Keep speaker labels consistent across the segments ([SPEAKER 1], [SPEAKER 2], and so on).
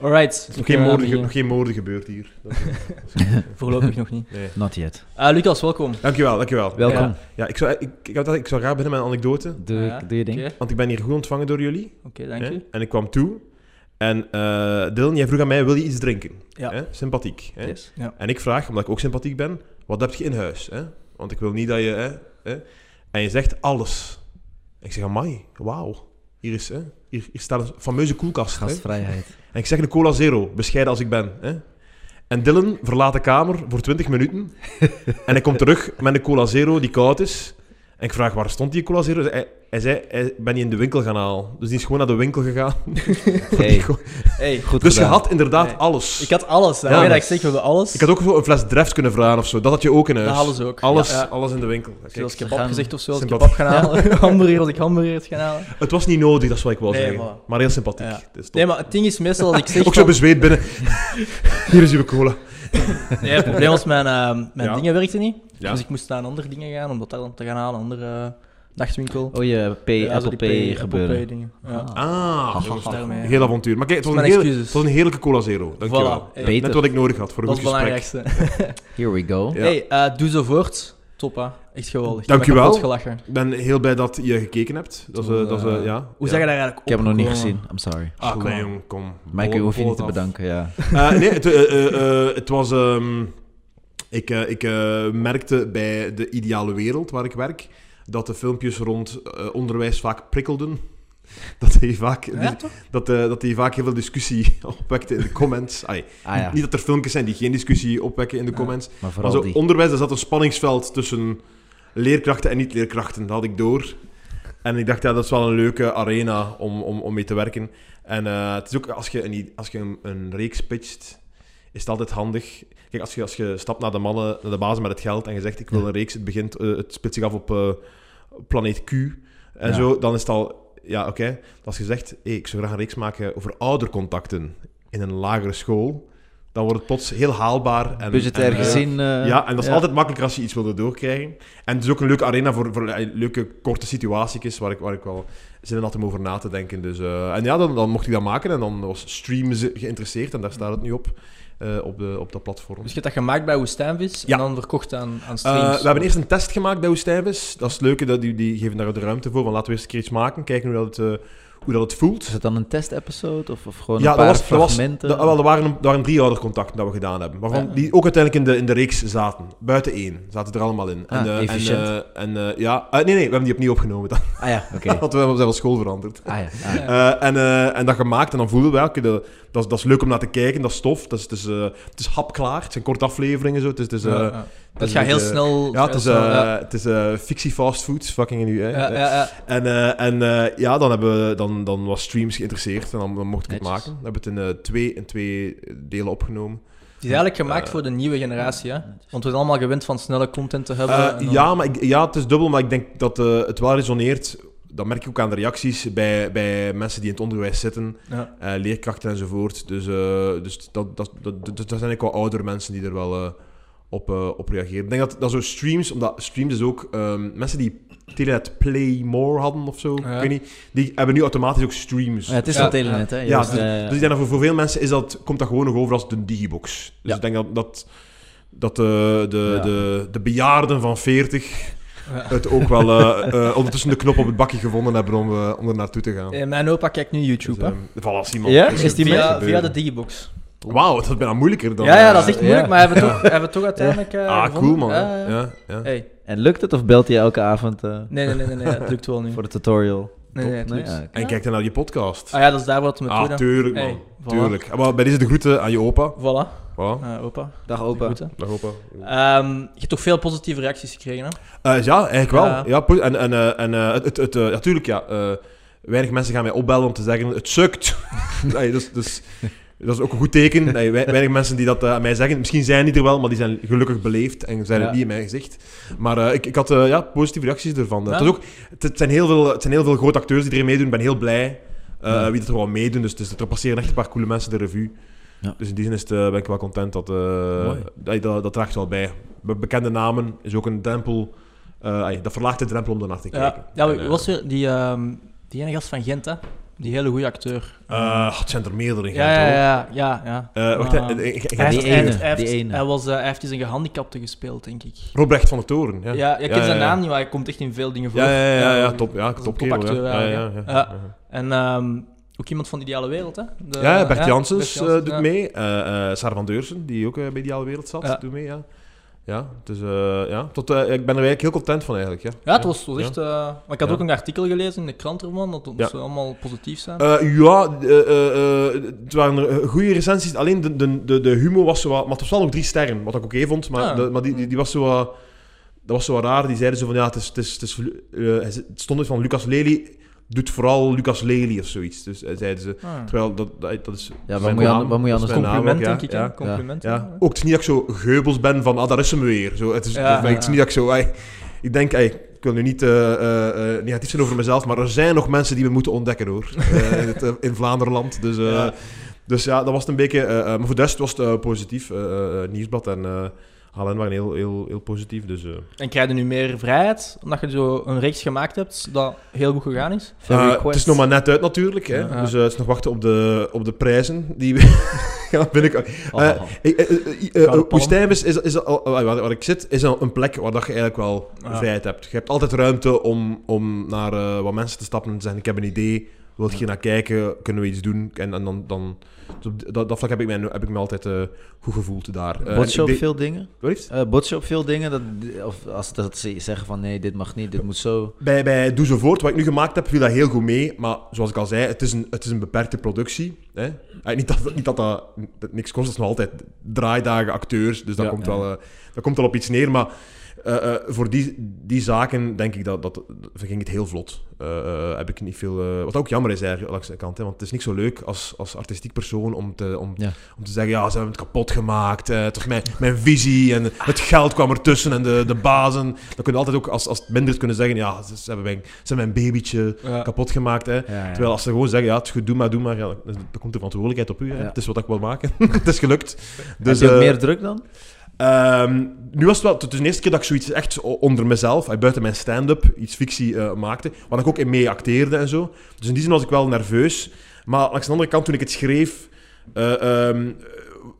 [SPEAKER 1] Alright.
[SPEAKER 2] Nog geen,
[SPEAKER 1] Eh,
[SPEAKER 2] moorden, ge- nog geen moorden gebeurd hier. Dat is-
[SPEAKER 1] Voorlopig nog niet.
[SPEAKER 2] nee.
[SPEAKER 3] Not yet.
[SPEAKER 1] Eh, Lucas, welkom.
[SPEAKER 2] Dankjewel, dankjewel.
[SPEAKER 3] Welkom.
[SPEAKER 1] Ja.
[SPEAKER 2] Ja, ik, zou, ik, ik, had dat- ik zou graag beginnen met een anekdote,
[SPEAKER 3] Doe,
[SPEAKER 1] Ah,
[SPEAKER 3] doe je ding.
[SPEAKER 1] Oké,
[SPEAKER 2] want ik ben hier goed ontvangen door jullie.
[SPEAKER 1] Oké, dank
[SPEAKER 2] hè?
[SPEAKER 1] je.
[SPEAKER 2] En ik kwam toe. En eh Dylan, jij vroeg aan mij, wil je iets drinken?
[SPEAKER 1] Ja.
[SPEAKER 2] Hè? Sympathiek. Hè?
[SPEAKER 3] Yes.
[SPEAKER 2] En ik vraag, omdat ik ook sympathiek ben, wat heb je in huis? Hè? Want ik wil niet dat je... Hè, hè? En je zegt alles. Ik zeg, amai, wauw. Hier, is, hè? Hier, hier staat een fameuze koelkast. Hè?
[SPEAKER 3] Gastvrijheid.
[SPEAKER 2] En ik zeg de cola zero, bescheiden als ik ben. Hè? En Dylan verlaat de kamer voor 20 minuten. en hij komt terug met een cola zero die koud is. En ik vraag, waar stond die cola zero? Hij, hij zei, hij, ben je in de winkel gaan halen? Dus die is gewoon naar de winkel gegaan.
[SPEAKER 3] Hey,
[SPEAKER 1] Hey,
[SPEAKER 3] goed
[SPEAKER 2] dus je
[SPEAKER 3] gedaan.
[SPEAKER 2] had inderdaad
[SPEAKER 1] Nee.
[SPEAKER 2] alles.
[SPEAKER 1] ik had alles. Hè.
[SPEAKER 2] Ja,
[SPEAKER 1] Ja,
[SPEAKER 2] maar-
[SPEAKER 1] dat ik zeg, we hebben alles.
[SPEAKER 2] Ik had ook zo een fles dreft kunnen vragen of zo. Dat had je ook in huis.
[SPEAKER 1] dat hadden ze ook.
[SPEAKER 2] Alles,
[SPEAKER 1] Ja, ja.
[SPEAKER 2] alles in de winkel.
[SPEAKER 1] Ik
[SPEAKER 2] Kijk,
[SPEAKER 1] had kebab
[SPEAKER 3] dus gaan-
[SPEAKER 1] gezegd of zo. Als ik
[SPEAKER 2] sympathiek.
[SPEAKER 1] kebab gaan halen. hamburger als ik hamburgers gaan halen.
[SPEAKER 2] het was niet nodig, dat is wat ik wou
[SPEAKER 1] Nee,
[SPEAKER 2] zeggen.
[SPEAKER 1] voilà.
[SPEAKER 2] Maar heel sympathiek.
[SPEAKER 1] Ja.
[SPEAKER 2] Dat is top.
[SPEAKER 1] Nee, maar het ding is meestal dat ik zeg...
[SPEAKER 2] ook zo
[SPEAKER 1] van-
[SPEAKER 2] bezweet binnen. Hier is uw cola.
[SPEAKER 1] Nee, het probleem was, mijn, eh, mijn
[SPEAKER 2] Ja.
[SPEAKER 1] dingen werkten niet.
[SPEAKER 2] Ja.
[SPEAKER 1] Dus ik moest naar een andere dingen gaan, om dat daar dan te gaan halen. Een andere eh, nachtwinkel.
[SPEAKER 3] Oh je P,
[SPEAKER 1] Ja, zo
[SPEAKER 3] Apple
[SPEAKER 1] die
[SPEAKER 3] Pay
[SPEAKER 1] Apple
[SPEAKER 3] gebeuren.
[SPEAKER 1] Pay dingen. Ja.
[SPEAKER 3] Ah.
[SPEAKER 2] Ah,
[SPEAKER 1] Dus daarmee, ja.
[SPEAKER 2] Heel avontuur. Maar kijk, het was, een,
[SPEAKER 1] Mijn
[SPEAKER 2] heel,
[SPEAKER 1] excuses.
[SPEAKER 2] het was een heerlijke cola zero. Dankjewel.
[SPEAKER 1] Voilà.
[SPEAKER 2] Ja,
[SPEAKER 3] Beter.
[SPEAKER 2] Net wat ik nodig had voor een
[SPEAKER 1] Dat is
[SPEAKER 2] goed
[SPEAKER 1] het
[SPEAKER 2] gesprek.
[SPEAKER 1] belangrijkste.
[SPEAKER 3] Here we go.
[SPEAKER 2] Ja.
[SPEAKER 1] Hey, eh, doe zo voort. Top, hè. Echt geweldig. Ik
[SPEAKER 2] Dank
[SPEAKER 1] ben
[SPEAKER 2] je wel.
[SPEAKER 1] kapot gelachen.
[SPEAKER 2] Ik ben heel blij dat je gekeken hebt. Dat is, eh, dat is, eh, ja.
[SPEAKER 1] Hoe
[SPEAKER 2] ja.
[SPEAKER 1] zeg je daar eigenlijk op?
[SPEAKER 3] Ik heb hem nog niet gezien. I'm sorry.
[SPEAKER 1] Ah, kom
[SPEAKER 2] Allee,
[SPEAKER 1] on.
[SPEAKER 2] jong, kom.
[SPEAKER 3] Mike,
[SPEAKER 2] Bol-
[SPEAKER 3] je hoeft je
[SPEAKER 2] bol
[SPEAKER 3] niet te
[SPEAKER 2] het af.
[SPEAKER 3] bedanken. Ja.
[SPEAKER 2] Eh, nee, het, eh, eh, eh, het was. ehm, ik eh, ik eh, merkte bij de ideale wereld waar ik werk dat de filmpjes rond eh, onderwijs vaak prikkelden. Dat die, vaak,
[SPEAKER 1] Ja, toch?
[SPEAKER 2] dat, eh, dat die vaak heel veel discussie opwekte in de comments. Ai,
[SPEAKER 3] Ah ja,
[SPEAKER 2] Niet dat er filmpjes zijn die geen discussie opwekken in de comments.
[SPEAKER 3] maar
[SPEAKER 2] Maar
[SPEAKER 3] vooral
[SPEAKER 2] zo,
[SPEAKER 3] die.
[SPEAKER 2] onderwijs, er zat een spanningsveld tussen leerkrachten en niet-leerkrachten. Dat had ik door. En ik dacht, ja, dat is wel een leuke arena om, om, om mee te werken. En eh, het is ook, als je, een, als je een, een reeks pitcht, is het altijd handig. Kijk, als je, als je stapt naar de mannen, naar de bazen met het geld en je zegt, ik wil een reeks, het, begint, eh, het speelt zich af op eh, planeet Q en
[SPEAKER 3] Ja.
[SPEAKER 2] zo, dan is het al... Ja, oké. Als je zegt, hey, ik zou graag een reeks maken over oudercontacten in een lagere school, dan wordt het plots heel haalbaar. En,
[SPEAKER 3] Budgetair
[SPEAKER 2] en, eh,
[SPEAKER 3] gezien. eh,
[SPEAKER 2] ja, en dat is
[SPEAKER 3] ja.
[SPEAKER 2] altijd makkelijker als je iets wilde doorkrijgen. En het is ook een leuke arena voor, voor eh, leuke korte situaties waar ik, waar ik wel zin in had om over na te denken. Dus, eh, en ja, dan, dan mocht ik dat maken en dan was Stream ze- geïnteresseerd en daar staat het nu op, eh, op, de, op dat platform.
[SPEAKER 1] Dus je hebt dat gemaakt bij Woestijnvis
[SPEAKER 2] Ja.
[SPEAKER 1] en dan verkocht aan, aan
[SPEAKER 2] Eh,
[SPEAKER 1] streams.
[SPEAKER 2] we hebben eerst een test gemaakt bij Oestijvis. Dat is het leuke, dat die, die geven daar de ruimte voor. Van laten we eerst een keer iets maken, kijken hoe dat het, eh, hoe dat het voelt.
[SPEAKER 3] Is het dan een test-episode of, of gewoon
[SPEAKER 2] Ja,
[SPEAKER 3] een
[SPEAKER 2] dat
[SPEAKER 3] paar
[SPEAKER 2] was, dat was,
[SPEAKER 3] fragmenten?
[SPEAKER 2] dat- wel, er, waren, er waren drie oudercontacten dat we gedaan hebben. Waarvan
[SPEAKER 1] Ja.
[SPEAKER 2] die ook uiteindelijk in de, in de reeks zaten. Buiten één zaten er allemaal in.
[SPEAKER 3] Ah,
[SPEAKER 2] en, eh,
[SPEAKER 3] efficiënt.
[SPEAKER 2] En, eh, en, eh, ja, eh, nee, nee, we hebben die opnieuw opgenomen. Dan,
[SPEAKER 3] Ah ja, oké.
[SPEAKER 2] Want we hebben- we zijn van school veranderd.
[SPEAKER 3] Ah ja, ah, ja.
[SPEAKER 2] Eh, en, eh, en dat gemaakt, en dan voelen we, ja, oké, dat, dat, is, dat is leuk om naar te kijken, dat is tof. Dat is, het, is, eh, het is hapklaar, het zijn korte afleveringen. Zo. Het is, het is, eh,
[SPEAKER 1] Ja, ja. Dat
[SPEAKER 2] is
[SPEAKER 1] gaat
[SPEAKER 2] een
[SPEAKER 1] heel
[SPEAKER 2] beetje-
[SPEAKER 1] snel.
[SPEAKER 2] ja, het is,
[SPEAKER 1] heel snel, ja.
[SPEAKER 2] eh, het is eh, fictie fast food, fucking in u. hè.
[SPEAKER 1] Ja, ja, ja.
[SPEAKER 2] En, eh, en eh, ja, dan, hebben we, dan, dan was Streams geïnteresseerd en dan, dan mocht ik het
[SPEAKER 3] Netjes.
[SPEAKER 2] maken. We hebben het in, eh, twee, in twee delen opgenomen.
[SPEAKER 1] Het is eigenlijk gemaakt
[SPEAKER 2] Eh,
[SPEAKER 1] voor de nieuwe generatie, hè? Want we zijn allemaal gewend van snelle content te hebben.
[SPEAKER 2] Eh,
[SPEAKER 1] en dan-
[SPEAKER 2] ja, maar ik, ja, het is dubbel, maar ik denk dat eh, het wel resoneert. Dat merk ik ook aan de reacties bij, bij mensen die in het onderwijs zitten,
[SPEAKER 1] Ja.
[SPEAKER 2] eh, leerkrachten enzovoort. Dus, eh, dus dat, dat, dat, dat, dat zijn eigenlijk wel oudere mensen die er wel eh, op, eh, op reageren. Ik denk dat, dat zo streams, omdat streams is ook ehm, mensen die Telenet Play More hadden of zo,
[SPEAKER 1] Ja.
[SPEAKER 2] ik weet niet, die hebben nu automatisch ook streams.
[SPEAKER 3] Ja, het is
[SPEAKER 1] Ja.
[SPEAKER 3] wel telenet, hè?
[SPEAKER 2] Ja,
[SPEAKER 3] Juist,
[SPEAKER 2] dus,
[SPEAKER 3] eh,
[SPEAKER 2] dus ik denk dat voor, voor veel mensen is dat, komt dat gewoon nog over als de digibox. Dus
[SPEAKER 3] Ja.
[SPEAKER 2] ik denk dat, dat, dat de, de,
[SPEAKER 3] Ja.
[SPEAKER 2] de, de bejaarden van 40
[SPEAKER 1] Ja.
[SPEAKER 2] het ook wel eh, eh, ondertussen de knop op het bakje gevonden hebben om, eh, om er naartoe te gaan.
[SPEAKER 1] Eh, Mijn opa kijkt nu YouTube,
[SPEAKER 2] Dus,
[SPEAKER 1] hè?
[SPEAKER 2] eh, voilà, Simon.
[SPEAKER 3] Ja?
[SPEAKER 2] Dat
[SPEAKER 3] Is die
[SPEAKER 2] gebeurd.
[SPEAKER 1] via, via de Digibox.
[SPEAKER 2] Wauw, dat is bijna moeilijker dan...
[SPEAKER 1] ja, ja,
[SPEAKER 2] eh,
[SPEAKER 1] dat is echt
[SPEAKER 3] ja.
[SPEAKER 1] moeilijk, maar hebben we toch, hebben we toch uiteindelijk. eh,
[SPEAKER 2] Ah,
[SPEAKER 1] gevonden.
[SPEAKER 2] cool man. hè.
[SPEAKER 1] Ja, ja, ja.
[SPEAKER 2] Ja, ja.
[SPEAKER 1] Hey.
[SPEAKER 3] En lukt het of belt hij elke avond eh,
[SPEAKER 1] Nee, nee, nee, nee, nee, het lukt wel nu.
[SPEAKER 3] voor de tutorial?
[SPEAKER 1] Nee, nee, het
[SPEAKER 3] Nee,
[SPEAKER 1] lukt.
[SPEAKER 3] ja, oké.
[SPEAKER 2] En kijk dan naar je podcast.
[SPEAKER 1] Ah ja, dat is daar wat we het
[SPEAKER 2] Ah,
[SPEAKER 1] doen.
[SPEAKER 2] tuurlijk man.
[SPEAKER 1] Hey, voilà.
[SPEAKER 2] Tuurlijk. Ah, maar bij deze de groeten aan je opa.
[SPEAKER 1] Voilà,
[SPEAKER 2] Voilà.
[SPEAKER 1] Eh, opa.
[SPEAKER 3] Dag opa.
[SPEAKER 1] Goed, hè?
[SPEAKER 2] Dag opa.
[SPEAKER 1] Ehm, je hebt toch veel positieve reacties gekregen, hè?
[SPEAKER 2] Eh, ja, eigenlijk wel.
[SPEAKER 1] Ja.
[SPEAKER 2] Ja. po- en en, eh, en eh, het, het, het, eh, natuurlijk, ja. eh, weinig mensen gaan mij opbellen om te zeggen: het sukt. nee, dus, dus, dat is ook een goed teken. Nee, wei- weinig mensen die dat eh, aan mij zeggen. Misschien zijn die er wel, maar die zijn gelukkig beleefd en zijn
[SPEAKER 3] Ja.
[SPEAKER 2] het niet in mijn gezicht. Maar eh, ik, ik had eh, ja, positieve reacties ervan.
[SPEAKER 1] Ja.
[SPEAKER 2] Het, is ook, het, het zijn heel veel, het zijn heel veel grote acteurs die erin meedoen. Ik ben heel blij eh,
[SPEAKER 3] Ja.
[SPEAKER 2] wie dat er wel meedoen. Dus, dus er passeren echt een paar coole mensen de revue.
[SPEAKER 3] Ja.
[SPEAKER 2] Dus in die zin is het, eh, ben ik wel content dat, eh, dat, dat, dat draagt wel bij. Be- bekende namen is ook een drempel. eh, ai, dat verlaagt de drempel om ernaar te kijken.
[SPEAKER 1] Ja, ja
[SPEAKER 2] En,
[SPEAKER 1] maar
[SPEAKER 2] eh,
[SPEAKER 1] was er die, ehm, die ene gast van Gent, hè? Die hele goede acteur.
[SPEAKER 2] Eh, het zijn er meerdere in
[SPEAKER 1] ja,
[SPEAKER 2] Gent,
[SPEAKER 1] ja,
[SPEAKER 2] hoor.
[SPEAKER 1] ja, ja, ja.
[SPEAKER 2] Eh, wacht,
[SPEAKER 1] Maar,
[SPEAKER 2] hè, eh, ik- ik- ik-
[SPEAKER 1] hij
[SPEAKER 3] die
[SPEAKER 1] heeft- hij
[SPEAKER 3] ene,
[SPEAKER 1] heeft- hij
[SPEAKER 3] die
[SPEAKER 1] heeft-
[SPEAKER 3] ene.
[SPEAKER 1] Hij was, eh, hij heeft eens een gehandicapte gespeeld, denk ik.
[SPEAKER 2] Robrecht van de Toren. Ja,
[SPEAKER 1] Ja, ik ken zijn naam niet, maar hij komt echt in veel dingen voor.
[SPEAKER 2] Ja, ja, ja, ja, ja,
[SPEAKER 1] Ehm,
[SPEAKER 2] top. Ja,
[SPEAKER 1] is
[SPEAKER 2] top
[SPEAKER 1] een
[SPEAKER 2] kerel,
[SPEAKER 1] topacteur,
[SPEAKER 2] ja. Ja, ja,
[SPEAKER 1] eigenlijk,
[SPEAKER 2] ja,
[SPEAKER 1] En ehm, ook iemand van de Ideale Wereld, hè? De-
[SPEAKER 2] ja. Ja, Bert Janssens
[SPEAKER 1] Bert
[SPEAKER 2] eh,
[SPEAKER 1] Janssens,
[SPEAKER 2] doet
[SPEAKER 1] ja.
[SPEAKER 2] mee. Eh, eh, Sarah van Deursen, die ook eh, bij Ideale Wereld zat,
[SPEAKER 1] Ja.
[SPEAKER 2] doet mee, ja. Ja, dus eh, ja, tot, eh, ik ben er eigenlijk heel content van eigenlijk, ja.
[SPEAKER 1] Ja, het was, was
[SPEAKER 2] Ja.
[SPEAKER 1] echt... eh, maar ik had
[SPEAKER 2] Ja.
[SPEAKER 1] ook een artikel gelezen in de krant ervan, dat dat
[SPEAKER 2] Ja.
[SPEAKER 1] ze allemaal positief zijn.
[SPEAKER 2] Eh, ja, eh, eh, eh, het waren er, eh, goede recensies. Alleen de, de, de, de humor was zo wat... Maar het was wel nog drie sterren, wat ik oké vond. Maar,
[SPEAKER 1] Ah.
[SPEAKER 2] de- maar die, die, die was zo wat... Dat was zo wat raar. Die zeiden zo van, ja, het, is, het, is, het, is, eh, het stond iets van Lucas Lely... Doet vooral Lucas Lely of zoiets. Dus eh, zeiden ze...
[SPEAKER 1] Ah.
[SPEAKER 2] Terwijl, dat, dat, dat is
[SPEAKER 3] Ja, wat
[SPEAKER 2] zijn
[SPEAKER 3] moet je, an-
[SPEAKER 2] naam,
[SPEAKER 3] wat moet je
[SPEAKER 2] dat is
[SPEAKER 3] anders
[SPEAKER 2] mijn naam
[SPEAKER 3] doen?
[SPEAKER 1] Compliment,
[SPEAKER 2] ook, ja,
[SPEAKER 1] denk ik, hè?
[SPEAKER 2] ja,
[SPEAKER 1] Compliment.
[SPEAKER 2] ja. Ook het is niet dat ik zo geubels ben van, ah, daar is hem weer. Zo, het is,
[SPEAKER 1] Ja,
[SPEAKER 2] het is
[SPEAKER 1] ja.
[SPEAKER 2] niet dat ik zo... ai, ik denk, ai, ik wil nu niet eh, eh, eh, negatief zijn over mezelf, maar er zijn nog mensen die we moeten ontdekken, hoor. Eh, in het, eh, in Vlaanderland. Dus, eh,
[SPEAKER 1] Ja.
[SPEAKER 2] dus ja, dat was het een beetje... eh, eh, maar voor de rest was het eh, positief. eh, eh, eh, nieuwsblad en eh HLN waren heel, heel, heel positief. Dus, eh.
[SPEAKER 1] En krijg je nu meer vrijheid, omdat je zo een reeks gemaakt hebt dat heel goed gegaan is?
[SPEAKER 3] Veel
[SPEAKER 2] Eh, het
[SPEAKER 3] requests.
[SPEAKER 2] is nog maar net uit natuurlijk, hè.
[SPEAKER 1] Ja.
[SPEAKER 2] dus eh, het is nog wachten op de, op de prijzen die we gaan binnenkort.
[SPEAKER 3] Oh.
[SPEAKER 2] eh, Ik- eh, eh, eh, eh,
[SPEAKER 1] Gouden palm.
[SPEAKER 2] Woestijn is, is, is al, oh, waar, waar ik zit, is al een plek waar dat je eigenlijk wel
[SPEAKER 1] Ja.
[SPEAKER 2] vrijheid hebt. Je hebt altijd ruimte om, om naar eh, wat mensen te stappen en te zeggen: Ik heb een idee, wil je naar kijken, kunnen we iets doen? En, en dan, dan, dus op dat, dat vlak heb ik, mij, heb ik me altijd eh, goed gevoeld daar. Eh, en
[SPEAKER 3] Botsen op
[SPEAKER 2] ik deed-
[SPEAKER 3] veel dingen?
[SPEAKER 2] Wat liefst?
[SPEAKER 3] Eh botsen op veel dingen? Dat, of als dat ze zeggen van nee, dit mag niet, dit moet zo.
[SPEAKER 2] Bij, bij Doe Zo Voort, wat ik nu gemaakt heb, viel dat heel goed mee. Maar zoals ik al zei, het is een, het is een beperkte productie. Hè? Eh, niet, dat, niet dat dat dat niks kost, dat is nog altijd draaidagen, acteurs. Dus dat,
[SPEAKER 3] Ja,
[SPEAKER 2] komt,
[SPEAKER 3] ja.
[SPEAKER 2] wel, eh, dat komt wel op iets neer. Maar eh, eh, voor die, die zaken denk ik dat, dat verging het heel vlot. Eh, eh, heb ik niet veel, eh, wat ook jammer is eigenlijk langs de kant. Hè? Want het is niet zo leuk als, als artistiek persoon om te, om,
[SPEAKER 3] Ja.
[SPEAKER 2] om te zeggen, ja, ze hebben het kapot gemaakt. eh, het was mijn, mijn visie en het geld kwam ertussen en de, de bazen. Dan kun je altijd ook als, als het minder is kunnen zeggen, ja, ze, ze hebben mijn, ze hebben mijn babytje
[SPEAKER 1] Ja.
[SPEAKER 2] kapot gemaakt. Hè.
[SPEAKER 3] Ja, ja.
[SPEAKER 2] Terwijl als ze gewoon zeggen, ja, het is goed, doe maar, doe maar. Ja, dan, dan komt de verantwoordelijkheid op u. Hè.
[SPEAKER 3] Ja.
[SPEAKER 2] Het is wat ik wil maken. het is gelukt.
[SPEAKER 3] Dus,
[SPEAKER 2] Dus,
[SPEAKER 3] Heb je ook
[SPEAKER 2] eh,
[SPEAKER 3] meer druk dan?
[SPEAKER 2] Ehm, nu was het wel het is de eerste keer dat ik zoiets echt o- onder mezelf, eh, buiten mijn stand-up, iets fictie eh, maakte. Waar ik ook in mee acteerde en zo. Dus in die zin was ik wel nerveus. Maar langs de andere kant, toen ik het schreef, eh, ehm, eh,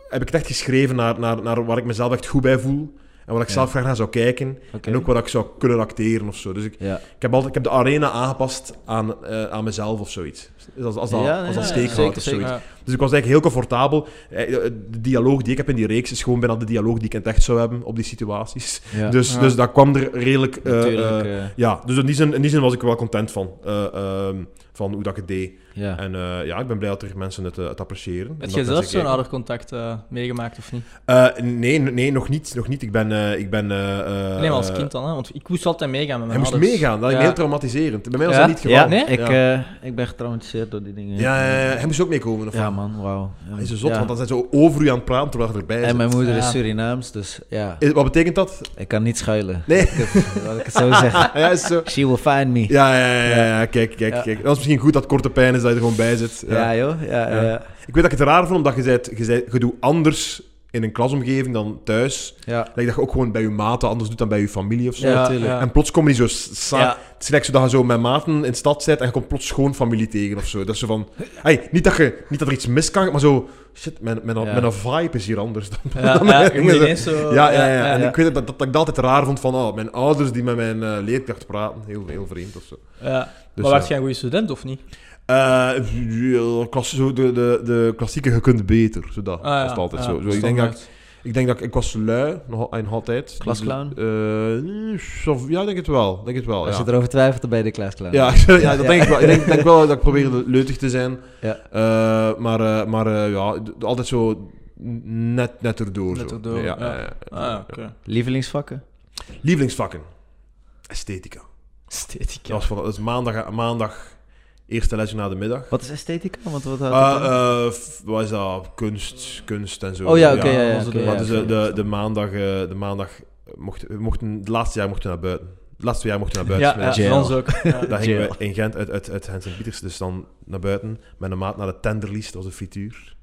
[SPEAKER 2] heb ik het echt geschreven naar, naar, naar waar ik mezelf echt goed bij voel. En waar ik
[SPEAKER 3] Ja.
[SPEAKER 2] zelf graag naar zou kijken.
[SPEAKER 3] Oké.
[SPEAKER 2] En ook waar ik zou kunnen acteren of zo. Dus ik,
[SPEAKER 3] Ja.
[SPEAKER 2] ik, heb, altijd, ik heb de arena aangepast aan, eh, aan mezelf of zoiets. Dus als, als dat,
[SPEAKER 3] Ja, nee,
[SPEAKER 2] als dat
[SPEAKER 3] ja, ja,
[SPEAKER 2] steekwoord
[SPEAKER 3] zeker,
[SPEAKER 2] of
[SPEAKER 3] zeker.
[SPEAKER 2] zoiets.
[SPEAKER 1] Ja.
[SPEAKER 2] Dus ik was eigenlijk heel comfortabel. Eh, De dialoog die ik heb in die reeks is gewoon bijna de dialoog die ik in het echt zou hebben op die situaties.
[SPEAKER 3] Ja.
[SPEAKER 2] Dus,
[SPEAKER 1] Ja.
[SPEAKER 2] dus dat kwam er redelijk... eh,
[SPEAKER 3] Natuurlijk.
[SPEAKER 2] eh,
[SPEAKER 3] eh,
[SPEAKER 2] ja, dus in die, zin, in die zin was ik er wel content van. eh, ehm, van hoe dat ik het deed.
[SPEAKER 3] ja.
[SPEAKER 2] En eh, ja, ik ben blij dat er mensen het, eh, het appreciëren. En
[SPEAKER 1] Heb
[SPEAKER 2] dat
[SPEAKER 1] jij zelf
[SPEAKER 2] mensen
[SPEAKER 1] zo'n
[SPEAKER 2] kijken.
[SPEAKER 1] oudercontact eh, meegemaakt of niet?
[SPEAKER 2] Eh, nee, nee, nog niet. Nog niet. Ik ben... eh, ik ben eh, eh,
[SPEAKER 1] Alleen maar als
[SPEAKER 2] eh,
[SPEAKER 1] kind dan, hè? want ik moest altijd meegaan met
[SPEAKER 2] Hij
[SPEAKER 1] mijn
[SPEAKER 2] moest
[SPEAKER 1] ouders.
[SPEAKER 2] meegaan. Dat is
[SPEAKER 1] Ja.
[SPEAKER 2] heel traumatiserend. Bij mij was
[SPEAKER 1] Ja?
[SPEAKER 2] dat niet het
[SPEAKER 3] Ja,
[SPEAKER 2] geval.
[SPEAKER 1] nee?
[SPEAKER 3] ik,
[SPEAKER 2] Ja.
[SPEAKER 3] eh, ik ben getraumatiseerd door die dingen.
[SPEAKER 2] Ja, ja, ja, hij moest ook meekomen. Of
[SPEAKER 3] Ja,
[SPEAKER 2] wat?
[SPEAKER 3] man, wauw.
[SPEAKER 2] Hij is zo zot,
[SPEAKER 3] Ja.
[SPEAKER 2] want dan zijn ze over u aan het praten terwijl je erbij
[SPEAKER 3] En
[SPEAKER 2] zit.
[SPEAKER 3] mijn moeder
[SPEAKER 1] Ja.
[SPEAKER 3] is Surinaams, dus ja,
[SPEAKER 2] Eh, Wat betekent dat?
[SPEAKER 3] ik kan niet schuilen.
[SPEAKER 2] Nee.
[SPEAKER 3] Ik heb- Laat ik het zo zeggen.
[SPEAKER 2] ja, is zo.
[SPEAKER 3] She will find me.
[SPEAKER 2] Ja, ja, ja, ja, ja, kijk, kijk,
[SPEAKER 3] Ja.
[SPEAKER 2] kijk. Dat is misschien goed dat korte pijn is dat je er gewoon bij zit. Ja.
[SPEAKER 3] Ja, joh. Ja,
[SPEAKER 2] Ja.
[SPEAKER 3] ja. ja.
[SPEAKER 2] Ik weet dat ik het raar vond, omdat je, zei, je, zei, je doet anders in een klasomgeving dan thuis.
[SPEAKER 3] ja.
[SPEAKER 2] Lijkt dat je ook gewoon bij je maten anders doet dan bij je familie of zo.
[SPEAKER 3] Ja, tuurlijk.
[SPEAKER 2] En plots komen die zo s- sa-
[SPEAKER 3] Ja.
[SPEAKER 2] Het is like zo dat je zo met maten in de stad zit en je komt plots gewoon familie tegen of zo. Dat is zo van... Hey, niet, dat je, niet dat er iets mis kan, maar zo... Shit, mijn, mijn,
[SPEAKER 3] Ja.
[SPEAKER 2] mijn vibe is hier anders
[SPEAKER 1] Ja,
[SPEAKER 2] dan...
[SPEAKER 1] ja,
[SPEAKER 2] dan
[SPEAKER 1] ja,
[SPEAKER 2] mijn
[SPEAKER 1] je moet
[SPEAKER 2] dingen.
[SPEAKER 1] ineens zo...
[SPEAKER 2] Ja, ja, ja. En
[SPEAKER 3] ja.
[SPEAKER 2] ik weet dat, dat, dat ik dat altijd raar vond van oh, mijn ouders die met mijn eh, leerkracht praten. Heel, heel vreemd of zo.
[SPEAKER 1] Ja.
[SPEAKER 2] Dus,
[SPEAKER 1] maar
[SPEAKER 2] ja.
[SPEAKER 1] was jij een goede student of niet?
[SPEAKER 2] Eh, ja, klas- zo de, de, de klassieke, je kunt beter. Zo dat
[SPEAKER 1] Ah, ja.
[SPEAKER 2] was het altijd
[SPEAKER 1] Ja,
[SPEAKER 2] zo. zo ik, denk dat,
[SPEAKER 1] standaard.
[SPEAKER 2] ik- ik denk dat ik, ik was lui, nog, al- nog altijd.
[SPEAKER 3] Klasclown?
[SPEAKER 2] Eh, of- ja, ik denk het wel. ik Denk het wel
[SPEAKER 3] Als
[SPEAKER 2] ja.
[SPEAKER 3] je erover twijfelt, dan ben je de klaasklaar.
[SPEAKER 2] Ja, ja, dat denk ik wel. Ik denk, denk wel dat ik probeerde leutig te zijn.
[SPEAKER 3] Ja.
[SPEAKER 2] Eh, maar eh, maar eh, ja, d- altijd zo net, net erdoor.
[SPEAKER 1] Net
[SPEAKER 2] zo.
[SPEAKER 1] erdoor, ja. Ah, ja, oké.
[SPEAKER 3] Lievelingsvakken?
[SPEAKER 2] Lievelingsvakken. Esthetica.
[SPEAKER 1] Esthetica.
[SPEAKER 2] Dat was van, dat is maandag, maandag eerste lesje na de middag.
[SPEAKER 3] Wat is esthetica? Want wat houdt
[SPEAKER 2] Eh,
[SPEAKER 3] het in?
[SPEAKER 2] eh, f- wat is dat? Kunst, kunst en zo.
[SPEAKER 3] Oh ja, oké, ja, ja,
[SPEAKER 2] was het-
[SPEAKER 3] oké,
[SPEAKER 2] maar
[SPEAKER 3] ja,
[SPEAKER 2] dus,
[SPEAKER 3] oké,
[SPEAKER 2] eh, de,
[SPEAKER 3] ja.
[SPEAKER 2] de maandag, eh, de maandag mochten, we mochten, het laatste jaar mochten we naar buiten. Het laatste twee jaar mochten we naar buiten.
[SPEAKER 1] Ja,
[SPEAKER 2] Dus
[SPEAKER 1] ja
[SPEAKER 3] jail.
[SPEAKER 1] ons ook. Ja.
[SPEAKER 2] Daar gingen
[SPEAKER 3] Jail.
[SPEAKER 2] we in Gent uit, uit, uit Hens en Pieters, dus dan naar buiten. Met een maat naar de tenderlies, dat was een frituur.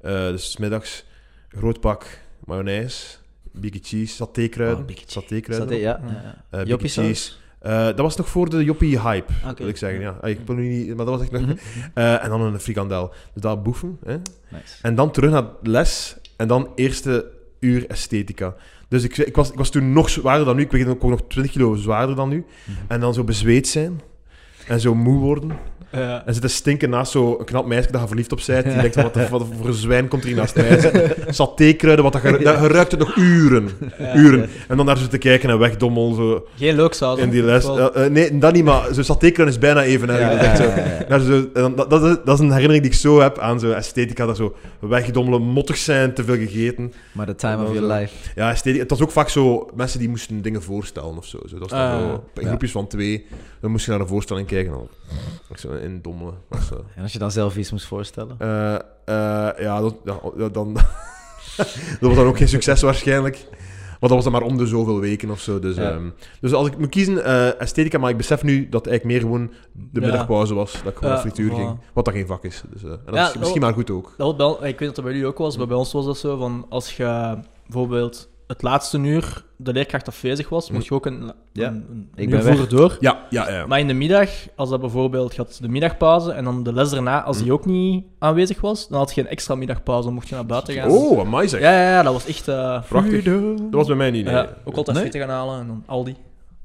[SPEAKER 2] Eh, dus 's middags, groot pak mayonaise, biggie cheese, satékruiden.
[SPEAKER 3] Oh, biggie cheese.
[SPEAKER 2] satékruiden.
[SPEAKER 3] Saté- ja, ja,
[SPEAKER 1] Ja.
[SPEAKER 3] ja.
[SPEAKER 2] Eh, biggie
[SPEAKER 3] Joppiesaus?
[SPEAKER 2] cheese, Eh, dat was nog voor de Joppie-hype,
[SPEAKER 3] Oké.
[SPEAKER 2] wil ik zeggen. Ja. Ah, Ik ben nu niet, maar dat was echt nog...
[SPEAKER 3] Mhm.
[SPEAKER 2] Eh, en dan een frikandel. Dus dat boeven. Hè?
[SPEAKER 3] Nice.
[SPEAKER 2] En dan terug naar les. En dan eerste uur esthetica. Dus ik, ik, was, ik was toen nog zwaarder dan nu. Ik weeg ook nog 20 kilo zwaarder dan nu. En dan zo bezweet zijn. En zo moe worden.
[SPEAKER 1] Eh,
[SPEAKER 2] En zitten stinken naast zo'n knap meisje dat je verliefd op bent. Die denkt, van, wat, de- wat voor zwijn komt er hier naast mij? Satékruiden, wat dat ge, dat, je ruikt het nog uren.
[SPEAKER 1] ja.
[SPEAKER 2] uren. En dan daar zitten kijken en wegdommel zo
[SPEAKER 1] Geen leuk zout.
[SPEAKER 2] in die les.
[SPEAKER 1] Wel,
[SPEAKER 2] Ja, eh, nee, dat niet, maar zo satékruiden is bijna even erg. Dat is echt zo. Daar zo, en dan- dat, dat, is- dat is een herinnering die ik zo heb aan zo'n esthetica. Dat zo wegdommelen, mottig zijn, te veel gegeten.
[SPEAKER 3] Maar the time
[SPEAKER 2] Dat
[SPEAKER 3] of
[SPEAKER 2] was
[SPEAKER 3] your
[SPEAKER 2] een-
[SPEAKER 3] life.
[SPEAKER 2] Ja, esthetica, het was ook vaak zo mensen die moesten dingen voorstellen of zo. zo dat was dan
[SPEAKER 1] Ah,
[SPEAKER 2] zo, in
[SPEAKER 3] ja.
[SPEAKER 2] groepjes van twee. Dan moest je naar een voorstelling kijken. en Dan, ik zo in dommelen. Dat was, eh,
[SPEAKER 3] En als je dan zelf iets moest voorstellen?
[SPEAKER 2] eh, eh, ja, dat, ja, dat- dan, dat was dan ook geen succes waarschijnlijk. Maar dat was dan maar om de zoveel weken of zo. Dus,
[SPEAKER 3] Ja.
[SPEAKER 2] ehm, dus als ik moet kiezen, eh esthetica, maar ik besef nu dat het eigenlijk meer gewoon de
[SPEAKER 1] Ja.
[SPEAKER 2] middagpauze was. Dat ik gewoon
[SPEAKER 1] Ja,
[SPEAKER 2] naar frituur
[SPEAKER 1] voilà.
[SPEAKER 2] ging. Wat dat geen vak is. Dus, eh, en dat
[SPEAKER 1] Ja, oh.
[SPEAKER 2] is misschien maar goed ook.
[SPEAKER 1] Dat was bij- ik weet dat dat bij jullie ook was, maar bij ons was dat zo van als je bijvoorbeeld het laatste uur de leerkracht afwezig was, moest je ook een,
[SPEAKER 3] Ja,
[SPEAKER 1] een, een
[SPEAKER 3] ik
[SPEAKER 1] uur
[SPEAKER 3] ben weg.
[SPEAKER 1] vroeger door.
[SPEAKER 2] Ja, ja, ja.
[SPEAKER 1] Maar in de middag, als dat bijvoorbeeld je had de middagpauze en dan de les daarna, als
[SPEAKER 2] Mm.
[SPEAKER 1] die ook niet aanwezig was, dan had je een extra middagpauze, dan mocht je naar buiten gaan.
[SPEAKER 2] Oh, amai zeg.
[SPEAKER 1] Ja, ja, ja, dat was echt eh,
[SPEAKER 2] Prachtig.
[SPEAKER 3] Freedom.
[SPEAKER 2] Dat was bij mij niet. nee.
[SPEAKER 1] ja, ook altijd
[SPEAKER 3] Nee?
[SPEAKER 1] frieten gaan halen en dan Aldi.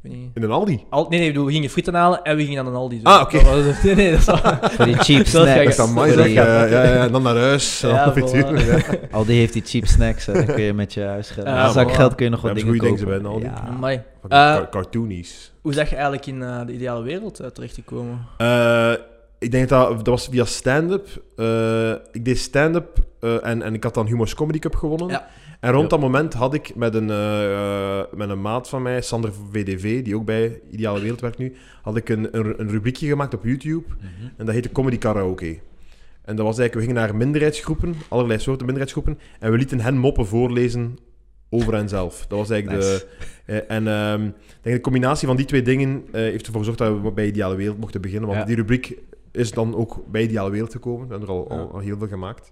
[SPEAKER 1] Ik weet niet.
[SPEAKER 2] In een Aldi.
[SPEAKER 1] Al, nee, nee, ik bedoel, we gingen frieten halen en we gingen naar een Aldi. zo.
[SPEAKER 2] Ah, oké.
[SPEAKER 1] Dat was- Nee, nee, dat was...
[SPEAKER 3] Van die cheap
[SPEAKER 1] Dat is
[SPEAKER 3] snacks.
[SPEAKER 1] gek.
[SPEAKER 2] Dat is amai
[SPEAKER 3] Voor
[SPEAKER 2] zeg.
[SPEAKER 3] die- eh,
[SPEAKER 2] Ja, ja, ja. En dan naar huis. en dan
[SPEAKER 1] Ja,
[SPEAKER 2] naar frituur.
[SPEAKER 1] voilà.
[SPEAKER 2] Ja.
[SPEAKER 3] Al die heeft die cheap snacks, hè. dan kun je met je huis gaan.
[SPEAKER 1] Ja,
[SPEAKER 3] Ja, zak
[SPEAKER 1] voilà.
[SPEAKER 3] geld kun je nog wat
[SPEAKER 2] Hebben ze
[SPEAKER 3] dingen
[SPEAKER 2] goede
[SPEAKER 3] kopen.
[SPEAKER 2] dingen bij een
[SPEAKER 3] Ja.
[SPEAKER 1] Amai.
[SPEAKER 2] Fucking
[SPEAKER 1] Eh,
[SPEAKER 2] car- Cartoonies.
[SPEAKER 1] Hoe zag je eigenlijk in eh, de ideale wereld eh, terecht te komen?
[SPEAKER 2] Eh, ik denk dat dat was via stand-up. Eh, ik deed stand-up eh, en, en ik had dan Humor's Comedy Cup gewonnen.
[SPEAKER 1] Ja.
[SPEAKER 2] En rond
[SPEAKER 3] Ja.
[SPEAKER 2] dat moment had ik met een, eh, eh, met een maat van mij, Sander VDV, die ook bij Ideale Wereld werkt nu, had ik een, een, een rubriekje gemaakt op YouTube
[SPEAKER 3] Mhm.
[SPEAKER 2] en dat heette Comedy Karaoke. En dat was eigenlijk, we gingen naar minderheidsgroepen, allerlei soorten minderheidsgroepen, en we lieten hen moppen voorlezen over henzelf. Dat was eigenlijk de...
[SPEAKER 3] Nice.
[SPEAKER 2] Eh, en ehm, ik denk de combinatie van die twee dingen eh, heeft ervoor gezorgd dat we bij Ideale Wereld mochten beginnen. Want
[SPEAKER 3] Ja.
[SPEAKER 2] die rubriek is dan ook bij Ideale Wereld gekomen. We hebben er al,
[SPEAKER 1] Ja.
[SPEAKER 2] al, al heel veel gemaakt.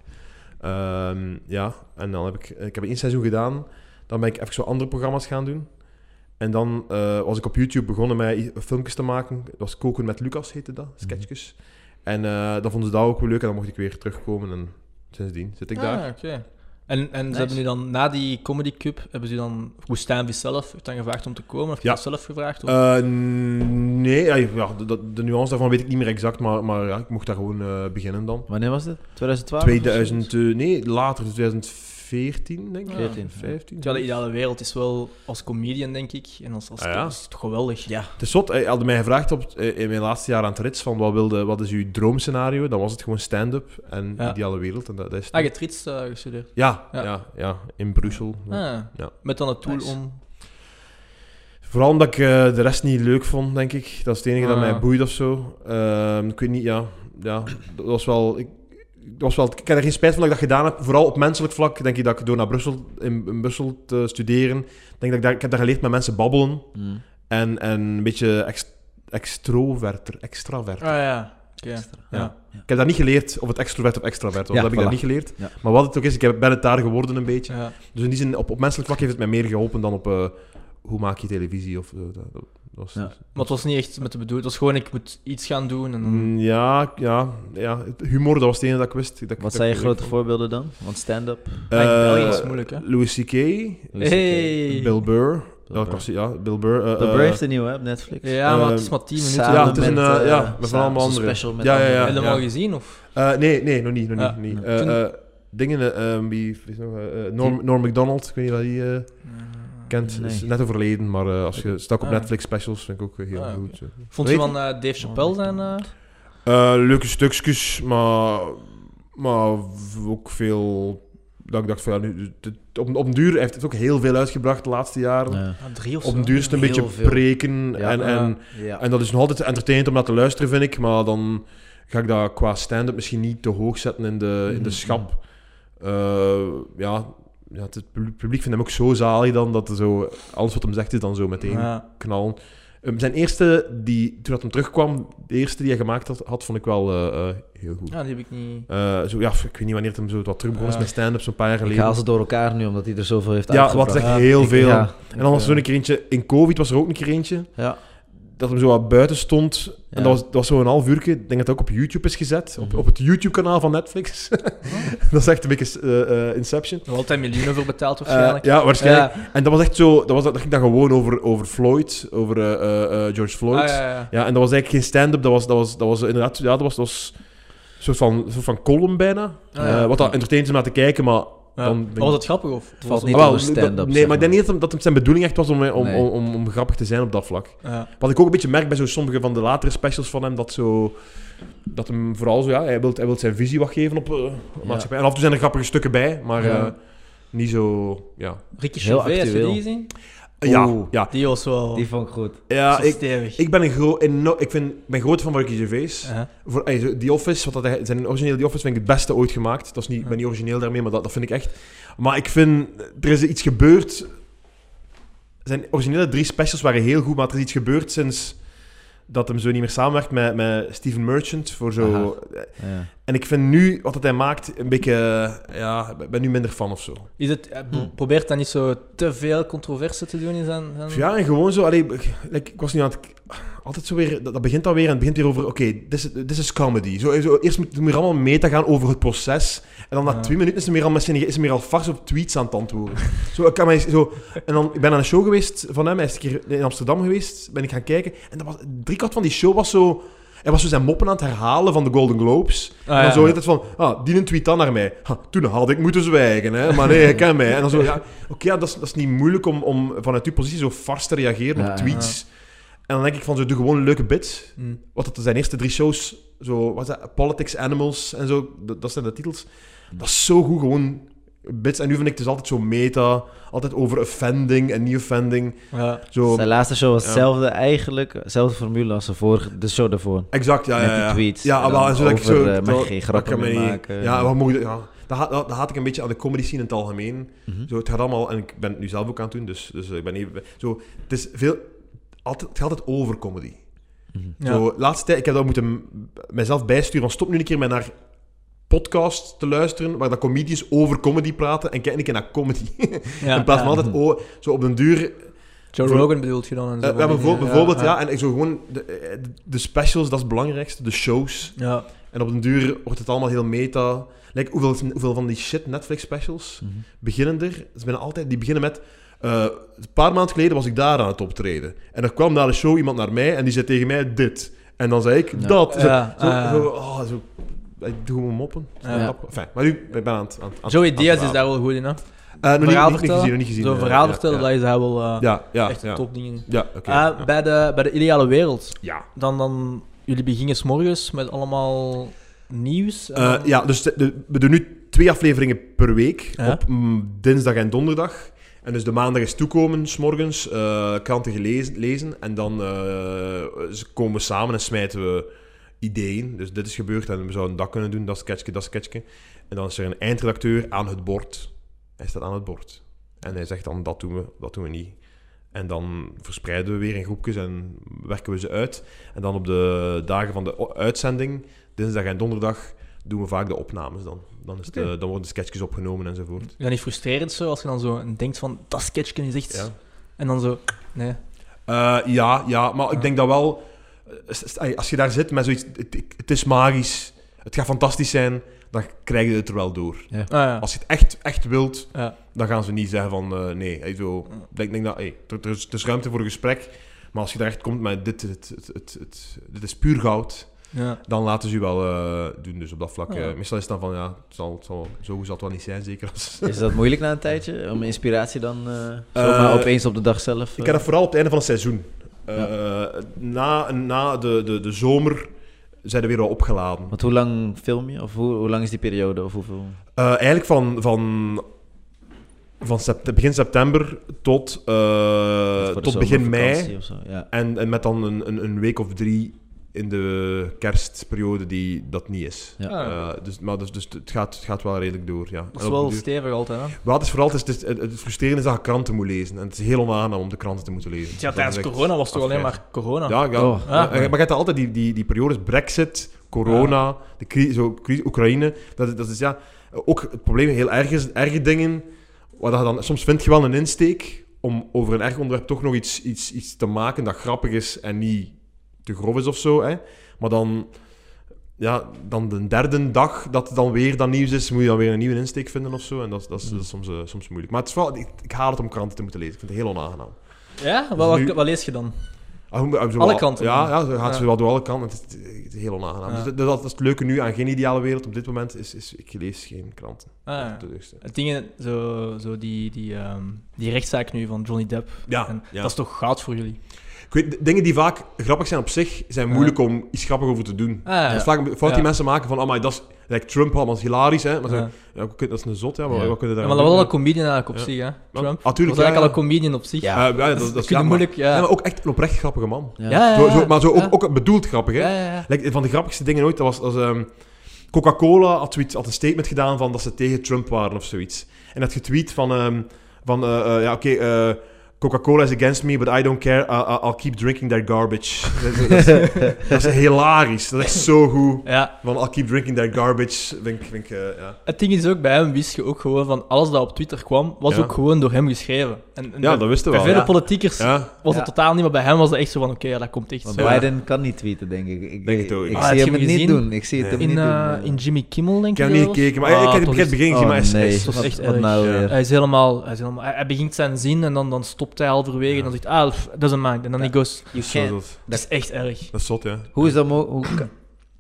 [SPEAKER 2] Ehm, ja, en dan heb ik, ik heb één seizoen gedaan. Dan ben ik even zo andere programma's gaan doen. En dan eh, was ik op YouTube begonnen met i- filmpjes te maken. Dat was Koken met Lucas heette
[SPEAKER 3] Mhm.
[SPEAKER 2] dat, sketchjes. En eh dan vonden ze dat ook wel leuk en dan mocht ik weer terugkomen. En sindsdien zit ik daar.
[SPEAKER 1] Ah, oké. En, en ze
[SPEAKER 3] Nice.
[SPEAKER 1] hebben nu dan, na die Comedy Cup, hebben ze dan Woestijn Vis zelf heeft dan gevraagd om te komen? Of heb je
[SPEAKER 2] Ja.
[SPEAKER 1] dat zelf gevraagd? Of?
[SPEAKER 2] Eh, nee, ja, ja, de, de- de nuance daarvan weet ik niet meer exact, maar, maar ja, ik mocht daar gewoon eh, beginnen dan.
[SPEAKER 3] Wanneer was dit? 2012?
[SPEAKER 2] 2000, eh, nee, later, 2014 denk ik.
[SPEAKER 1] Ah. Ja.
[SPEAKER 3] 14.
[SPEAKER 2] 15.
[SPEAKER 1] Terwijl de ideale wereld is wel als comedian, denk ik. En als, als
[SPEAKER 2] Ah, ja.
[SPEAKER 1] is het geweldig.
[SPEAKER 3] Ja.
[SPEAKER 2] Het is zot, hij had mij gevraagd op, eh, in mijn laatste jaar aan het Rits van wat, wilde, wat is uw droomscenario? Dan was het gewoon stand-up en
[SPEAKER 1] Ja.
[SPEAKER 2] ideale wereld. En dat, dat is het.
[SPEAKER 1] Ah, je hebt Rits eh, gestudeerd.
[SPEAKER 2] ja,
[SPEAKER 1] Ja.
[SPEAKER 2] ja. Ja, in Brussel.
[SPEAKER 1] Ah,
[SPEAKER 2] Ja.
[SPEAKER 1] Met dan het tool
[SPEAKER 3] Nice.
[SPEAKER 1] om...
[SPEAKER 2] Vooral omdat ik eh, de rest niet leuk vond, denk ik. Dat is het enige dat
[SPEAKER 1] Ah.
[SPEAKER 2] mij boeit of zo. Ehm, ik weet niet, ja. ja dat was wel, ik, dat was wel, ik heb er geen spijt van dat ik dat gedaan heb. Vooral op menselijk vlak denk ik dat ik door naar Brussel, in, in Brussel te studeren... Denk dat ik, daar, ik heb daar geleerd met mensen babbelen.
[SPEAKER 3] Mm.
[SPEAKER 2] En, en een beetje ext, extroverter, extraverter.
[SPEAKER 1] Ah ja, oké. Ja.
[SPEAKER 2] Ja. Ik heb dat niet geleerd of het extrovert of extravert was. dat
[SPEAKER 3] Ja,
[SPEAKER 2] heb ik
[SPEAKER 3] voilà.
[SPEAKER 2] dat niet geleerd.
[SPEAKER 3] Ja.
[SPEAKER 2] Maar wat het ook is, ik heb- ben het daar geworden een beetje.
[SPEAKER 1] Ja.
[SPEAKER 2] Dus in die zin, op, op menselijk vlak heeft het mij meer geholpen dan op eh, hoe maak je televisie of zo. Dat, dat was,
[SPEAKER 3] Ja.
[SPEAKER 1] Maar het was niet echt met de bedoeling. Het was gewoon, ik moet iets gaan doen. En dan...
[SPEAKER 2] Mm, ja, ja, ja. Het Humor, dat was het enige dat ik wist. Dat ik-
[SPEAKER 3] Wat
[SPEAKER 2] dat
[SPEAKER 3] zijn je
[SPEAKER 2] ik leuk
[SPEAKER 3] grote voorbeelden dan? Want stand-up?
[SPEAKER 2] vond.
[SPEAKER 1] Maar in België is
[SPEAKER 2] Eh,
[SPEAKER 1] het moeilijk, hè?
[SPEAKER 2] Louis C.K.,
[SPEAKER 1] Hey!
[SPEAKER 2] Bill Burr. ja,
[SPEAKER 3] Burr.
[SPEAKER 2] ik was- ja, Bill Burr. eh,
[SPEAKER 3] The
[SPEAKER 2] eh,
[SPEAKER 3] Brave heeft een nieuwe hè, op Netflix.
[SPEAKER 1] Ja, maar het
[SPEAKER 2] eh,
[SPEAKER 1] is maar 10 minuten.
[SPEAKER 3] Samen
[SPEAKER 2] Ja, het is een,
[SPEAKER 3] met,
[SPEAKER 2] eh,
[SPEAKER 3] eh,
[SPEAKER 2] ja, met van
[SPEAKER 3] samen-
[SPEAKER 2] allemaal
[SPEAKER 3] zo'n
[SPEAKER 2] anderen.
[SPEAKER 3] special met
[SPEAKER 2] Ja, ja,
[SPEAKER 3] andere-
[SPEAKER 2] ja.
[SPEAKER 1] Helemaal gezien, of?
[SPEAKER 2] eh, nee, nee, nog niet. Nog
[SPEAKER 1] Ja.
[SPEAKER 2] niet, nog niet.
[SPEAKER 3] Ja.
[SPEAKER 2] Eh, eh, dingen, eh, ehm, wie wie is nog, eh, eh, Norm, Norm MacDonald, ik weet niet of je die eh, kent.
[SPEAKER 3] Nee.
[SPEAKER 2] Is net overleden, maar eh, als je stak op
[SPEAKER 1] Ah.
[SPEAKER 2] Netflix specials, vind ik ook eh, heel
[SPEAKER 1] Ah, oké.
[SPEAKER 2] goed. eh.
[SPEAKER 1] Vond je
[SPEAKER 2] Weet
[SPEAKER 1] van eh, Dave Chappelle zijn... eh,
[SPEAKER 2] Eh, leuke stukjes, maar, maar v- ook veel. Dat ik dacht van ja, nu, dit- op, op een duur hij heeft het ook heel veel uitgebracht de laatste jaren.
[SPEAKER 3] Ja.
[SPEAKER 1] Ah, drie of
[SPEAKER 2] Op
[SPEAKER 1] zo,
[SPEAKER 2] een duur is het een
[SPEAKER 3] Heel
[SPEAKER 2] beetje
[SPEAKER 3] veel.
[SPEAKER 2] preken.
[SPEAKER 3] Ja.
[SPEAKER 2] en, en,
[SPEAKER 3] Ja.
[SPEAKER 2] en dat is nog altijd entertainend om naar te luisteren, vind ik. Maar dan ga ik dat qua stand-up misschien niet te hoog zetten in de, in de
[SPEAKER 3] Mhm.
[SPEAKER 2] schap. Eh, ja, ja, het publiek publiek vindt hem ook zo zalig dan dat er zo, alles wat hem zegt is dan zo meteen
[SPEAKER 1] Ja.
[SPEAKER 2] knallen. Ehm, zijn eerste, die, toen dat hem terugkwam, de eerste die hij gemaakt had, had vond ik wel eh, eh, heel goed.
[SPEAKER 1] Ja, die heb ik niet...
[SPEAKER 2] Eh, zo, ja, ik weet niet wanneer het hem zo wat terug begon is
[SPEAKER 1] Ja.
[SPEAKER 2] met stand-up, zo'n paar jaar
[SPEAKER 3] Ik
[SPEAKER 2] geleden.
[SPEAKER 3] haal ze door elkaar nu, omdat hij er zoveel heeft
[SPEAKER 2] ja, wat
[SPEAKER 3] uitgebracht.
[SPEAKER 2] echt
[SPEAKER 1] Ja,
[SPEAKER 2] heel
[SPEAKER 3] Ik-
[SPEAKER 2] veel.
[SPEAKER 3] ja.
[SPEAKER 2] en dan was er zo'n keer eentje, in COVID was er ook een keer eentje.
[SPEAKER 3] Ja.
[SPEAKER 2] dat hem zo wat buiten stond. En
[SPEAKER 3] Ja.
[SPEAKER 2] dat was, dat was zo'n half uurtje. Ik denk dat het ook op YouTube is gezet. Op,
[SPEAKER 3] Mhm.
[SPEAKER 2] op het YouTube-kanaal van Netflix. dat is echt een beetje eh, eh, Inception.
[SPEAKER 1] Er altijd miljoenen voor betaald
[SPEAKER 2] Eh,
[SPEAKER 1] waarschijnlijk.
[SPEAKER 2] ja, waarschijnlijk.
[SPEAKER 1] Ja.
[SPEAKER 2] En dat was echt zo... Dat, was, dat ging dan gewoon over, over Floyd. Over eh, eh, eh, George Floyd.
[SPEAKER 1] Ah, ja, ja, ja.
[SPEAKER 2] Ja, en dat was eigenlijk geen stand-up, dat was, dat was, dat was inderdaad, ja, dat was, dat was een soort van, een soort van column bijna.
[SPEAKER 3] Ah,
[SPEAKER 1] ja.
[SPEAKER 2] Eh, wat dat entertainend is om naar te kijken, maar...
[SPEAKER 1] Ja.
[SPEAKER 2] dan
[SPEAKER 1] Maar
[SPEAKER 2] denk
[SPEAKER 1] was
[SPEAKER 2] ik-
[SPEAKER 1] het grappig of?
[SPEAKER 3] Het was
[SPEAKER 1] het-
[SPEAKER 3] niet
[SPEAKER 2] Ah, wel,
[SPEAKER 3] onder stand-up,
[SPEAKER 2] dat- Nee,
[SPEAKER 3] zeg
[SPEAKER 2] maar ik denk niet dat hem- dat hem zijn bedoeling echt was om, eh, om,
[SPEAKER 3] Nee.
[SPEAKER 2] om, om, om grappig te zijn op dat vlak.
[SPEAKER 1] Ja.
[SPEAKER 2] Wat ik ook een beetje merk bij zo sommige van de latere specials van hem, dat zo... Dat hem vooral zo, ja, hij wil hij wilt zijn visie wat geven op eh, maatschappij. En af en toe zijn er grappige stukken bij, maar
[SPEAKER 1] Ja.
[SPEAKER 2] eh, niet zo... Ja,
[SPEAKER 1] Ricky
[SPEAKER 3] Heel
[SPEAKER 1] Gervais, heb je
[SPEAKER 3] actueel.
[SPEAKER 1] die gezien?
[SPEAKER 2] ja,
[SPEAKER 3] Oeh.
[SPEAKER 2] ja.
[SPEAKER 1] Die was wel
[SPEAKER 3] Die vond ik goed.
[SPEAKER 2] Ah. ja
[SPEAKER 1] zo
[SPEAKER 2] ik,
[SPEAKER 1] stevig.
[SPEAKER 2] ik ben een groot... Ik, vind- ik ben groot van Ricky Gervais.
[SPEAKER 1] Ja.
[SPEAKER 2] Voor, ey, zo, The Office, wat dat, hij- zijn origineel The Office vind ik het beste ooit gemaakt. Dat is niet, ik ben niet origineel daarmee, maar dat, dat vind ik echt. Maar ik vind, er is iets gebeurd. Zijn originele drie specials waren heel goed, maar er is iets gebeurd sinds dat hem zo niet meer samenwerkt met, met Steven Merchant. Voor zo,
[SPEAKER 3] Ja.
[SPEAKER 2] en ik vind nu wat dat hij maakt een beetje, eh, ja, ik ben nu minder fan of zo.
[SPEAKER 1] Is het, eh, pro-
[SPEAKER 3] Hm.
[SPEAKER 2] Hmm.
[SPEAKER 1] Probeert dan niet zo te veel controverse te doen in zijn... zijn...
[SPEAKER 2] Ja, en gewoon zo, allee, ik- like, ik was nu aan het... Altijd zo weer, dat, dat begint alweer en het begint weer over, oké, this, is- this is comedy. Zo, zo, eerst moet moet je allemaal meta gaan over het proces. En dan na
[SPEAKER 1] Ja.
[SPEAKER 2] twee minuten is er meer al, mensen- is er meer al vars op tweets aan het antwoorden. zo, ik, kan mij, zo, en dan, ik ben aan een show geweest van hem, hij is een keer in Amsterdam geweest, ben ik gaan kijken. En dat was, driekwart van die show was zo... Hij was zo zijn moppen aan het herhalen van de Golden Globes.
[SPEAKER 1] Ah,
[SPEAKER 2] en
[SPEAKER 1] ja.
[SPEAKER 2] dan zo altijd van, ah, die een tweet dan naar mij. Ha, toen had ik moeten zwijgen, hè. maar nee, hij kent mij. En dan zo, ja, oké, ja, dat, is, dat is niet moeilijk om, om vanuit uw positie zo vast te reageren
[SPEAKER 3] Ja,
[SPEAKER 2] op tweets. En dan denk ik van, zo, doe gewoon een leuke bits.
[SPEAKER 1] Hm.
[SPEAKER 2] Wat dat zijn eerste drie shows, zo, wat is dat, Politics, Animals en zo, dat, dat zijn de titels. Dat is zo goed, gewoon bits. En nu vind ik het dus altijd zo meta, altijd over offending en niet offending.
[SPEAKER 1] Ja.
[SPEAKER 2] Zo,
[SPEAKER 3] Zijn laatste show was
[SPEAKER 2] Ja.
[SPEAKER 3] hetzelfde eigenlijk, dezelfde formule als de, vorige, de show daarvoor.
[SPEAKER 2] exact, ja,
[SPEAKER 3] met
[SPEAKER 2] ja,
[SPEAKER 3] die
[SPEAKER 2] ja.
[SPEAKER 3] tweets.
[SPEAKER 2] Ja,
[SPEAKER 3] en
[SPEAKER 2] wel, en
[SPEAKER 3] dan
[SPEAKER 2] zo dat ik zo...
[SPEAKER 3] over, eh, mag
[SPEAKER 2] dat-
[SPEAKER 3] geen
[SPEAKER 2] dat
[SPEAKER 3] grappen
[SPEAKER 2] kan mij
[SPEAKER 3] meer
[SPEAKER 2] niet-
[SPEAKER 3] maken.
[SPEAKER 2] Ja, wat moet je... Ja, dat, haat- dat, dat haat ik een beetje aan de comedy scene in het algemeen.
[SPEAKER 3] Mhm.
[SPEAKER 2] Zo, het gaat allemaal, en ik ben het nu zelf ook aan het doen, dus, dus eh, ik ben even... Zo, het, is veel, altijd, het gaat altijd over comedy.
[SPEAKER 3] Mhm.
[SPEAKER 1] Ja.
[SPEAKER 2] Zo, laatste tijd, ik heb dat moeten m- mijzelf bijsturen, van stop nu een keer met naar podcasts te luisteren, waar dat comedians over comedy praten, en kijk een keer naar comedy.
[SPEAKER 1] Ja,
[SPEAKER 2] in plaats van
[SPEAKER 1] ja.
[SPEAKER 2] altijd, oh, zo op den duur...
[SPEAKER 1] Joe
[SPEAKER 2] voor-
[SPEAKER 1] Rogan bedoelt je dan? En zo
[SPEAKER 2] eh,
[SPEAKER 1] van
[SPEAKER 2] ja,
[SPEAKER 1] die
[SPEAKER 2] bijvoorbeeld,
[SPEAKER 1] dingen.
[SPEAKER 2] bijvoorbeeld ja,
[SPEAKER 1] ja.
[SPEAKER 2] en ik zo gewoon de, eh, de specials, dat is het belangrijkste, de shows.
[SPEAKER 1] Ja.
[SPEAKER 2] En op den duur wordt het allemaal heel meta. Like, hoeveel, hoeveel van die shit Netflix specials
[SPEAKER 3] Mhm.
[SPEAKER 2] beginnen er? Ze zijn altijd, die beginnen met... eh, een paar maanden geleden was ik daar aan het optreden. En er kwam naar de show iemand naar mij en die zei tegen mij dit. En dan zei ik
[SPEAKER 3] Ja.
[SPEAKER 2] dat. Zo,
[SPEAKER 1] Ja,
[SPEAKER 2] zo,
[SPEAKER 1] ah.
[SPEAKER 2] zo, oh, zo, ik doe gewoon moppen.
[SPEAKER 1] Ja.
[SPEAKER 2] Ja. Enfin, maar nu ik ben aan het... Aan, het- aan,
[SPEAKER 1] Joey
[SPEAKER 2] aan het
[SPEAKER 1] Diaz is
[SPEAKER 2] praten.
[SPEAKER 1] daar wel goed in, hè?
[SPEAKER 2] Eh, nog niet-
[SPEAKER 1] verhaal
[SPEAKER 2] niet, niet,
[SPEAKER 1] vertellen.
[SPEAKER 2] gezien, nog niet gezien.
[SPEAKER 1] Zo'n
[SPEAKER 2] eh,
[SPEAKER 1] verhaal
[SPEAKER 2] ja,
[SPEAKER 1] vertellen,
[SPEAKER 2] ja.
[SPEAKER 1] dat is daar wel eh,
[SPEAKER 2] Ja, ja,
[SPEAKER 1] echt
[SPEAKER 2] ja.
[SPEAKER 1] een topding in.
[SPEAKER 2] Ja, oké.
[SPEAKER 1] Ah,
[SPEAKER 2] ja.
[SPEAKER 1] bij, de, bij de ideale wereld,
[SPEAKER 2] Ja.
[SPEAKER 1] dan, dan jullie begingen s'morgens met allemaal nieuws. en
[SPEAKER 2] Eh,
[SPEAKER 1] dan-
[SPEAKER 2] ja, dus de- de- we doen nu twee afleveringen per week.
[SPEAKER 1] Ja.
[SPEAKER 2] Op mm, dinsdag en donderdag. En dus de maandag is toekomen, smorgens. eh kranten gelezen, lezen. En dan eh, ze komen we samen en smijten we ideeën. Dus dit is gebeurd en we zouden dat kunnen doen. Dat sketchje, dat sketchje. En dan is er een eindredacteur aan het bord. Hij staat aan het bord. En hij zegt dan, dat doen we, dat doen we niet. En dan verspreiden we weer in groepjes en werken we ze uit. En dan op de dagen van de o- uitzending, dinsdag en donderdag, doen we vaak de opnames dan. Dan, is het,
[SPEAKER 1] Oké.
[SPEAKER 2] eh, dan worden de sketchjes opgenomen enzovoort.
[SPEAKER 1] Is dat niet frustrerend zo, als je dan zo denkt van, dat sketchje is echt...
[SPEAKER 2] Ja,
[SPEAKER 1] En dan zo, nee.
[SPEAKER 2] Eh, ja, ja, maar
[SPEAKER 1] Ja.
[SPEAKER 2] ik denk dat wel... eh, s- s- ay, Als je daar zit met zoiets, het, ik- het is magisch, het gaat fantastisch zijn, dan krijg je het er wel door.
[SPEAKER 1] Ah, ja.
[SPEAKER 2] Als je het echt, echt wilt,
[SPEAKER 1] Ja.
[SPEAKER 2] dan gaan ze niet zeggen van eh, nee. Hey, zo,
[SPEAKER 1] Ja.
[SPEAKER 2] ik denk, denk dat hey, er, er is, er is ruimte voor een gesprek. Maar als je daar echt komt met dit, dit, dit, dit, dit, dit is puur goud,
[SPEAKER 1] Ja.
[SPEAKER 2] dan laten ze je wel eh, doen. Dus op dat vlak.
[SPEAKER 1] Ja.
[SPEAKER 2] eh, meestal is het dan van ja, het zal, het zal, zo goed zal het wel niet zijn, zeker als.
[SPEAKER 3] Is dat moeilijk na een tijdje? Om inspiratie dan eh
[SPEAKER 2] Eh,
[SPEAKER 3] zomaar opeens op de dag zelf?
[SPEAKER 2] Ik
[SPEAKER 3] eh,
[SPEAKER 2] heb dat vooral op het einde van het seizoen. Eh, Na, na de, de, de zomer zijn er weer wel opgeladen.
[SPEAKER 3] Want hoe lang film je? Of hoe, hoe lang is die periode? Of hoeveel?
[SPEAKER 2] Eh, eigenlijk van, van, van sept- begin september tot, eh,
[SPEAKER 3] Voor de
[SPEAKER 2] tot begin mei.
[SPEAKER 3] zomervakantie Of zo. Ja.
[SPEAKER 2] En, en met dan een, een, een week of drie in de kerstperiode die dat niet is.
[SPEAKER 3] Ja.
[SPEAKER 1] Ah,
[SPEAKER 2] Eh, dus, maar dus, dus het, gaat, het gaat wel redelijk door, ja.
[SPEAKER 1] Dat
[SPEAKER 2] En
[SPEAKER 1] is
[SPEAKER 2] op
[SPEAKER 1] wel
[SPEAKER 2] de duur-
[SPEAKER 1] stevig altijd, hè?
[SPEAKER 2] Wat is vooral, het, is, het, het frustrerende is dat je kranten moet lezen. En het is heel onaangenaam om de kranten te moeten lezen.
[SPEAKER 1] Ja,
[SPEAKER 2] Dat
[SPEAKER 1] tijdens
[SPEAKER 2] is echt
[SPEAKER 1] corona was het toch alleen
[SPEAKER 2] afgrijs.
[SPEAKER 1] maar corona?
[SPEAKER 2] Ja, ja.
[SPEAKER 3] Oh,
[SPEAKER 2] Ja,
[SPEAKER 1] ah.
[SPEAKER 2] maar je hebt altijd die, die, die periodes, brexit, corona, de cri- zo, cri- Oekraïne. Dat, is- dat is ja, ook het probleem, heel erg is, erge dingen, waar dat je dan, soms vind je wel een insteek, om over een erg onderwerp toch nog iets, iets, iets te maken dat grappig is en niet te grof is of zo. Hè. Maar dan, ja, dan de derde dag dat het dan weer dat nieuws is, moet je dan weer een nieuwe insteek vinden of zo. En dat, is- dat, is, dat is soms, eh, soms moeilijk. Maar het is wel, ik, ik haal het om kranten te moeten lezen. Ik vind het heel onaangenaam.
[SPEAKER 1] Ja? Wat, wat,
[SPEAKER 2] nu-
[SPEAKER 1] wat lees je dan?
[SPEAKER 2] Ah, hoe- ah, zo
[SPEAKER 1] Alle
[SPEAKER 2] wel-
[SPEAKER 1] kanten
[SPEAKER 2] Ja,
[SPEAKER 1] dan.
[SPEAKER 2] ja, ze gaat
[SPEAKER 1] Ja.
[SPEAKER 2] ze wel door alle kanten. Het is, het is heel onaangenaam.
[SPEAKER 1] Ja.
[SPEAKER 2] Dus dat, dat, dat is het leuke nu aan Geen Ideale Wereld op dit moment. Is, is, ik lees geen kranten.
[SPEAKER 1] Ah,
[SPEAKER 2] Dat is
[SPEAKER 1] ja.
[SPEAKER 2] het leukste.
[SPEAKER 1] Het Dingen, zo, zo die, die, ehm, die rechtszaak nu van Johnny Depp.
[SPEAKER 2] Ja,
[SPEAKER 1] en
[SPEAKER 2] ja.
[SPEAKER 1] Dat is toch goud voor jullie?
[SPEAKER 2] Ik weet, d- dingen die vaak grappig zijn op zich, zijn
[SPEAKER 1] Ja.
[SPEAKER 2] moeilijk om iets grappig over te doen.
[SPEAKER 1] Ah, ja.
[SPEAKER 2] Dat is vaak een fout die
[SPEAKER 1] Ja.
[SPEAKER 2] mensen maken van, amai, dat is like Trump allemaal is hilarisch, hè. Maar zo,
[SPEAKER 1] Ja.
[SPEAKER 2] ja. oké, dat is een zot, ja, maar
[SPEAKER 3] Ja.
[SPEAKER 2] wat kunnen
[SPEAKER 1] Ja,
[SPEAKER 2] daar
[SPEAKER 1] maar dat was al een comedian eigenlijk op zich, hè? Trump.
[SPEAKER 2] Ah,
[SPEAKER 1] Dat was
[SPEAKER 2] tuurlijk,
[SPEAKER 1] eigenlijk
[SPEAKER 2] ja,
[SPEAKER 1] al
[SPEAKER 2] ja.
[SPEAKER 1] een comedian op zich.
[SPEAKER 3] Ja.
[SPEAKER 2] Eh, ja, dat, dat is
[SPEAKER 1] kun je
[SPEAKER 2] ja, maar-
[SPEAKER 1] moeilijk, ja.
[SPEAKER 2] Ja, maar ook echt een oprecht grappige man.
[SPEAKER 1] Ja,
[SPEAKER 3] Ja.
[SPEAKER 1] ja,
[SPEAKER 2] Zo,
[SPEAKER 1] ja.
[SPEAKER 2] zo- maar zo ook,
[SPEAKER 1] Ja.
[SPEAKER 2] ook bedoeld grappig, hè.
[SPEAKER 1] Ja, ja, ja.
[SPEAKER 2] Like, van de grappigste dingen ooit, dat was... als ehm, Coca-Cola had, zoiets- had een statement gedaan van dat ze tegen Trump waren of zoiets. En dat getweet van... ehm, van eh, eh, ja, oké, eh, Coca-Cola is against me, but I don't care. I- I- I'll keep drinking their garbage. dat, is- dat is, dat is hilarisch. Dat is echt zo goed.
[SPEAKER 1] Ja,
[SPEAKER 2] Van I'll keep drinking their garbage. Vind ik, vind ik, eh, ja.
[SPEAKER 1] het ding is ook, bij hem wist je ook gewoon van alles dat op Twitter kwam, was
[SPEAKER 2] Ja.
[SPEAKER 1] ook gewoon door hem geschreven. En, en
[SPEAKER 2] ja,
[SPEAKER 1] bij-
[SPEAKER 2] dat wisten we
[SPEAKER 1] bij
[SPEAKER 2] wel.
[SPEAKER 1] vele
[SPEAKER 2] Ja.
[SPEAKER 1] politiekers
[SPEAKER 2] Ja.
[SPEAKER 1] was het
[SPEAKER 3] Ja.
[SPEAKER 1] totaal niet, maar bij hem was het echt zo van, oké, ja, dat komt echt
[SPEAKER 3] Want
[SPEAKER 1] zo.
[SPEAKER 3] Biden kan niet tweeten, denk ik. Ik,
[SPEAKER 2] Denk het ook.
[SPEAKER 3] ik
[SPEAKER 1] Ah, heb
[SPEAKER 3] zie
[SPEAKER 1] je
[SPEAKER 3] hem
[SPEAKER 1] hem
[SPEAKER 3] het niet
[SPEAKER 1] gezien?
[SPEAKER 3] doen. Ik zie het
[SPEAKER 2] Nee.
[SPEAKER 3] hem
[SPEAKER 1] In,
[SPEAKER 3] niet
[SPEAKER 1] eh,
[SPEAKER 3] doen.
[SPEAKER 1] in Jimmy Kimmel, denk
[SPEAKER 2] Ik heb
[SPEAKER 1] ik
[SPEAKER 2] hem niet
[SPEAKER 1] dat
[SPEAKER 2] gekeken, maar
[SPEAKER 1] was.
[SPEAKER 2] ik- ik
[SPEAKER 1] Ah,
[SPEAKER 2] heb
[SPEAKER 1] toch
[SPEAKER 2] het begin
[SPEAKER 1] is-
[SPEAKER 2] begin gezien, maar hij is- hij
[SPEAKER 3] oh, nee.
[SPEAKER 2] is
[SPEAKER 1] toch
[SPEAKER 3] wat,
[SPEAKER 1] echt
[SPEAKER 3] wat nou
[SPEAKER 2] erg.
[SPEAKER 3] weer?
[SPEAKER 1] Hij, is helemaal, hij, is helemaal, hij, hij begint zijn zin en dan, dan stopt hij halverwege en dan zegt ah, pff, doesn't mind. En dan
[SPEAKER 3] Ja.
[SPEAKER 1] hij goes,
[SPEAKER 3] You
[SPEAKER 2] Zo,
[SPEAKER 3] can't-
[SPEAKER 2] dat,
[SPEAKER 1] dat is echt erg.
[SPEAKER 2] dat is zot, ja.
[SPEAKER 3] Hoe is dat mogelijk? We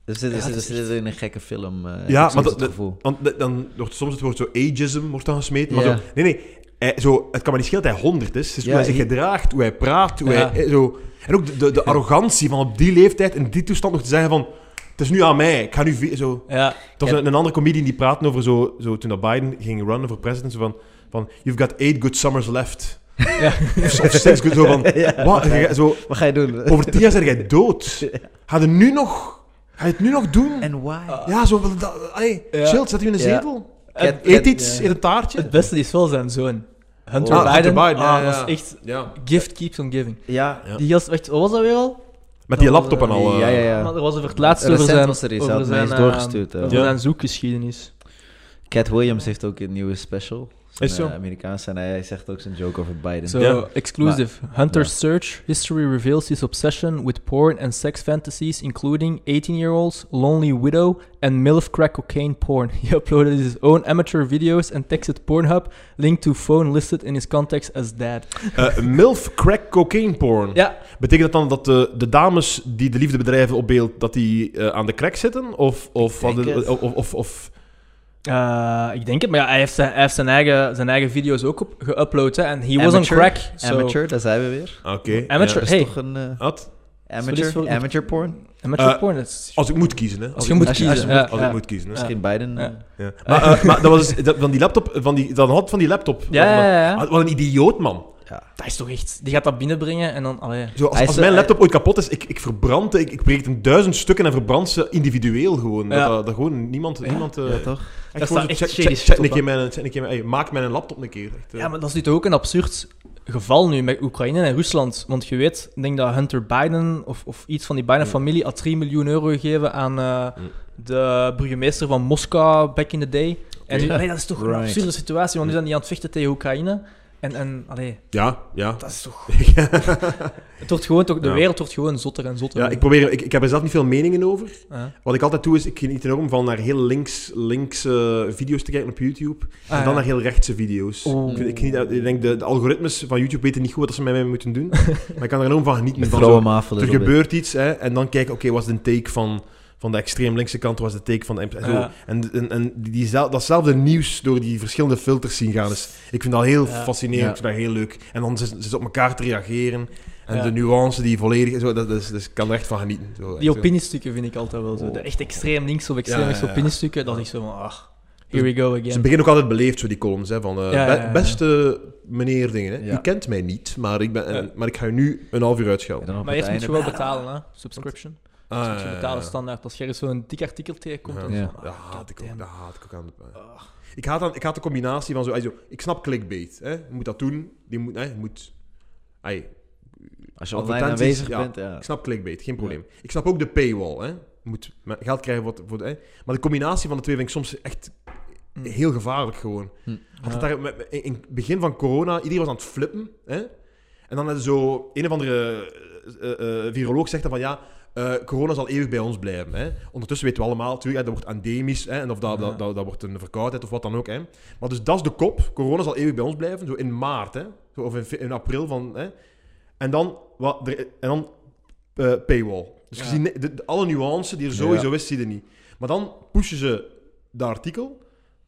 [SPEAKER 3] zitten
[SPEAKER 1] Ja, dat
[SPEAKER 3] we
[SPEAKER 1] is
[SPEAKER 3] zitten in een gekke film.
[SPEAKER 2] Ja,
[SPEAKER 3] eh, heb ik
[SPEAKER 2] maar
[SPEAKER 3] soms
[SPEAKER 2] dat-
[SPEAKER 3] het
[SPEAKER 2] dat-
[SPEAKER 3] gevoel.
[SPEAKER 2] Want de- dan wordt soms het woord zo ageism wordt dan gesmeten. Maar
[SPEAKER 3] Ja.
[SPEAKER 2] zo, nee, nee. Hij, zo, het kan me niet schelen dat hij honderd is. Het is
[SPEAKER 3] Ja,
[SPEAKER 2] hoe hij zich
[SPEAKER 3] hij-
[SPEAKER 2] gedraagt, hoe hij praat, hoe
[SPEAKER 1] Ja.
[SPEAKER 2] hij... eh, Zo. En ook de, de, de arrogantie van op die leeftijd, in die toestand nog te zeggen van... Het is nu aan mij, ik ga nu... ve- Zo.
[SPEAKER 1] Ja,
[SPEAKER 2] Het was een, een andere comedian die praatte over zo, zo... Toen dat Biden ging runnen voor president, zo van... van You've got eight good summers left.
[SPEAKER 1] ja.
[SPEAKER 2] Of, of six good... Zo van...
[SPEAKER 3] Ja.
[SPEAKER 2] Wat? Jij- Zo,
[SPEAKER 3] Wat ga je doen?
[SPEAKER 2] over tien jaar ben jij dood. Ga je, nu nog, ga je het nu nog doen?
[SPEAKER 3] En why?
[SPEAKER 2] Ja, zo... wel dat- Allee,
[SPEAKER 1] Ja.
[SPEAKER 2] chill, zet u in een
[SPEAKER 3] Ja.
[SPEAKER 2] zetel.
[SPEAKER 1] Het,
[SPEAKER 2] Eet iets,
[SPEAKER 1] ja.
[SPEAKER 2] eet een taartje.
[SPEAKER 1] het beste is wel zijn zoon. Hunter
[SPEAKER 2] Ah,
[SPEAKER 1] Biden,
[SPEAKER 2] Hunter Biden, ja,
[SPEAKER 1] ah, dat
[SPEAKER 2] ja.
[SPEAKER 1] is echt...
[SPEAKER 2] Ja.
[SPEAKER 1] Gift keeps on giving.
[SPEAKER 3] Ja.
[SPEAKER 2] Ja.
[SPEAKER 1] Die gast, wacht, wat was dat weer al?
[SPEAKER 2] Met die
[SPEAKER 1] Dat
[SPEAKER 2] laptop en
[SPEAKER 1] was,
[SPEAKER 2] al.
[SPEAKER 3] eh, ja,
[SPEAKER 2] eh,
[SPEAKER 3] ja, ja.
[SPEAKER 1] Maar er was over het laatst
[SPEAKER 3] Recent
[SPEAKER 1] over zijn,
[SPEAKER 3] was er iets,
[SPEAKER 1] over
[SPEAKER 3] had mij eens
[SPEAKER 1] zijn,
[SPEAKER 3] doorgestuurd, hè.
[SPEAKER 1] eh, over
[SPEAKER 2] Ja.
[SPEAKER 1] zijn zoekgeschiedenis.
[SPEAKER 3] Cat Williams heeft ook een nieuwe special. Zijn,
[SPEAKER 2] Is zo.
[SPEAKER 3] eh, Amerikaans en hij zegt ook zijn joke over Biden.
[SPEAKER 1] So,
[SPEAKER 2] Ja.
[SPEAKER 1] exclusive. Hunter's search history reveals his obsession with porn and sex fantasies, including 18 year olds, lonely widow, and MILF crack cocaine porn. He uploaded his own amateur videos and texted Pornhub, linked to phone listed in his contacts as dad.
[SPEAKER 2] eh, milf crack cocaine porn.
[SPEAKER 1] Ja,
[SPEAKER 2] Betekent dat dan dat de, de dames die de liefde bedrijven op beeld, dat die eh, aan de crack zitten? Of, of,
[SPEAKER 3] denk
[SPEAKER 2] van de-
[SPEAKER 3] het.
[SPEAKER 2] of, of, of, of-
[SPEAKER 1] eh, ik denk het, maar ja, hij heeft zijn, hij heeft zijn, eigen, zijn eigen video's ook op, geüpload. hè, En he was on
[SPEAKER 3] Amateur.
[SPEAKER 1] crack. so-
[SPEAKER 3] Amateur, daar zijn we weer.
[SPEAKER 2] Oké.
[SPEAKER 1] Amateur.
[SPEAKER 2] ja.
[SPEAKER 3] Dat is
[SPEAKER 1] Ah, Hey.
[SPEAKER 3] toch een eh,
[SPEAKER 2] Wat?
[SPEAKER 1] Sorry, sorry.
[SPEAKER 3] amateur, amateur porn?
[SPEAKER 1] Amateur
[SPEAKER 2] Eh,
[SPEAKER 1] porn, dat is-
[SPEAKER 2] Als ik moet kiezen, hè. Als,
[SPEAKER 1] Als
[SPEAKER 2] ik,
[SPEAKER 1] je moet
[SPEAKER 3] als je-
[SPEAKER 1] kiezen.
[SPEAKER 3] als je
[SPEAKER 1] ja,
[SPEAKER 2] als
[SPEAKER 1] ja.
[SPEAKER 2] ik moet kiezen, hè.
[SPEAKER 3] Misschien Biden.
[SPEAKER 1] Ja.
[SPEAKER 3] eh,
[SPEAKER 2] Ja. Maar, eh, maar dat was dus- dat, van die laptop, van die, dan had van die laptop.
[SPEAKER 1] Ja, ja, ja, ja.
[SPEAKER 2] Wat- Wat een idioot, man.
[SPEAKER 3] ja.
[SPEAKER 1] Ah, Dat is toch echt... Die gaat dat binnenbrengen en dan... Allee.
[SPEAKER 2] Zo, als,
[SPEAKER 3] Hij
[SPEAKER 2] als
[SPEAKER 3] is-
[SPEAKER 1] eh,
[SPEAKER 2] mijn
[SPEAKER 3] hij-
[SPEAKER 2] laptop ooit kapot is, ik, ik verbrand, ik, ik breek het in duizend stukken en verbrand ze individueel gewoon.
[SPEAKER 1] Ja.
[SPEAKER 2] Dat, dat, dat gewoon niemand... niemand eh,
[SPEAKER 3] Ja, toch?
[SPEAKER 2] Echt
[SPEAKER 1] staat
[SPEAKER 2] gewoon zo,
[SPEAKER 1] echt
[SPEAKER 2] check,
[SPEAKER 1] shady
[SPEAKER 2] check,
[SPEAKER 1] shit
[SPEAKER 2] check
[SPEAKER 1] op,
[SPEAKER 2] een
[SPEAKER 1] hè.
[SPEAKER 2] keer mijn, check een keer mijn, ey, maak mijn laptop een keer. Echt, eh.
[SPEAKER 1] Ja, maar dat is natuurlijk ook een absurd geval nu met Oekraïne en Rusland. Want je weet, ik denk dat Hunter Biden of, of iets van die Biden-familie had 3 miljoen euro gegeven aan eh,
[SPEAKER 2] Mm.
[SPEAKER 1] de burgemeester van Moskou back in the day. En nu,
[SPEAKER 2] Oké.
[SPEAKER 1] allee, dat is toch een
[SPEAKER 3] Right.
[SPEAKER 1] absurde situatie, want nu zijn die aan het vechten tegen Oekraïne. En, en allee,
[SPEAKER 2] ja, ja.
[SPEAKER 1] dat is toch... het wordt gewoon toch de
[SPEAKER 2] Ja.
[SPEAKER 1] wereld wordt gewoon zotter en zotter.
[SPEAKER 2] Ja, ik, probeer, ik, ik heb er zelf niet veel meningen over.
[SPEAKER 1] Ah.
[SPEAKER 2] Wat ik altijd doe, is ik geniet enorm van naar heel links, links eh, video's te kijken op YouTube.
[SPEAKER 1] Ah,
[SPEAKER 2] en
[SPEAKER 1] ja.
[SPEAKER 2] dan naar heel rechtse video's.
[SPEAKER 1] Oeh.
[SPEAKER 2] Ik, vind- ik, geniet, ik denk, de, de algoritmes van YouTube weten niet goed wat ze met mij moeten doen. maar ik kan er enorm van genieten. Van
[SPEAKER 3] Vrouwen
[SPEAKER 2] zo,
[SPEAKER 3] mafelen.
[SPEAKER 2] er gebeurt iets, hè, en dan kijken, oké, wat is de take van... Van de extreem linkse kant was de take van de MP. en zo.
[SPEAKER 1] Ja.
[SPEAKER 2] En, en, en die, zel- datzelfde nieuws door die verschillende filters zien gaan. Dus ik vind dat heel
[SPEAKER 1] Ja.
[SPEAKER 2] fascinerend.
[SPEAKER 3] Ja.
[SPEAKER 2] Ik vind dat heel leuk. En dan zitten ze op elkaar te reageren. En
[SPEAKER 1] Ja.
[SPEAKER 2] de nuance die volledig. Zo, dat, dat is, dus ik kan er echt van genieten. Zo, echt
[SPEAKER 1] Die
[SPEAKER 2] zo.
[SPEAKER 1] opiniestukken vind ik altijd wel zo. De echt extreem links of extreem
[SPEAKER 2] Ja, ja,
[SPEAKER 1] rechts
[SPEAKER 2] ja. Dus
[SPEAKER 1] opiniestukken, dat is echt zo van, ah, here we go
[SPEAKER 2] Ze
[SPEAKER 1] again.
[SPEAKER 2] beginnen ook altijd beleefd, zo die columns. Hè, van, eh,
[SPEAKER 1] Ja, ja, ja.
[SPEAKER 2] be- beste meneer dingen. Hè.
[SPEAKER 3] Ja.
[SPEAKER 2] U kent mij niet, maar ik, ben, en-
[SPEAKER 1] Ja.
[SPEAKER 2] maar ik ga u nu een half uur uitschelden.
[SPEAKER 1] Maar eerst moet je wel betalen, hè? Subscription.
[SPEAKER 2] Ah,
[SPEAKER 1] Dus moet je
[SPEAKER 2] ja, ja,
[SPEAKER 1] betalen
[SPEAKER 2] ja.
[SPEAKER 1] standaard. Als je er zo'n dik artikel tegenkomt, dan
[SPEAKER 2] Ja.
[SPEAKER 1] is
[SPEAKER 3] Ja.
[SPEAKER 1] het van,
[SPEAKER 2] Dat
[SPEAKER 1] ah,
[SPEAKER 2] haat ik ook.
[SPEAKER 1] goddamn. Ah.
[SPEAKER 2] Dat haat ik ook aan de... Ik haat, aan, ik haat de combinatie van zo... ey, zo ik snap clickbait. Hè. Je moet dat doen. Die moet... Hè, je moet ey,
[SPEAKER 3] Als je online
[SPEAKER 2] advertenties,
[SPEAKER 3] aanwezig
[SPEAKER 2] ja.
[SPEAKER 3] bent, ja.
[SPEAKER 2] Ik snap clickbait, geen probleem. Ik snap ook de paywall. Hè. Je moet me- geld krijgen voor, voor hè. Maar de combinatie van de twee vind ik soms echt heel gevaarlijk gewoon.
[SPEAKER 3] Hm.
[SPEAKER 2] Had
[SPEAKER 1] Mm.
[SPEAKER 2] het
[SPEAKER 1] Ja.
[SPEAKER 2] daar, met- met- in in het begin van corona, iedereen was aan het flippen. Hè? En dan hadden zo een of andere eh, eh, viroloog zegt dan van ja, eh, corona zal eeuwig bij ons blijven. Hè? Ondertussen weten we allemaal, natuurlijk, hè, dat wordt endemisch. Hè? En of dat,
[SPEAKER 1] Ja.
[SPEAKER 2] dat, dat, dat wordt een verkoudheid of wat dan ook. Hè? Maar dus dat is de kop. Corona zal eeuwig bij ons blijven. Zo in maart, hè? Zo, of in, fe- in april. Van, hè? En dan, wat, er- en dan eh, paywall. Dus je
[SPEAKER 1] Ja.
[SPEAKER 2] ziet ni- de- de- alle nuance die er sowieso is, zie je niet. Maar dan pushen ze dat artikel.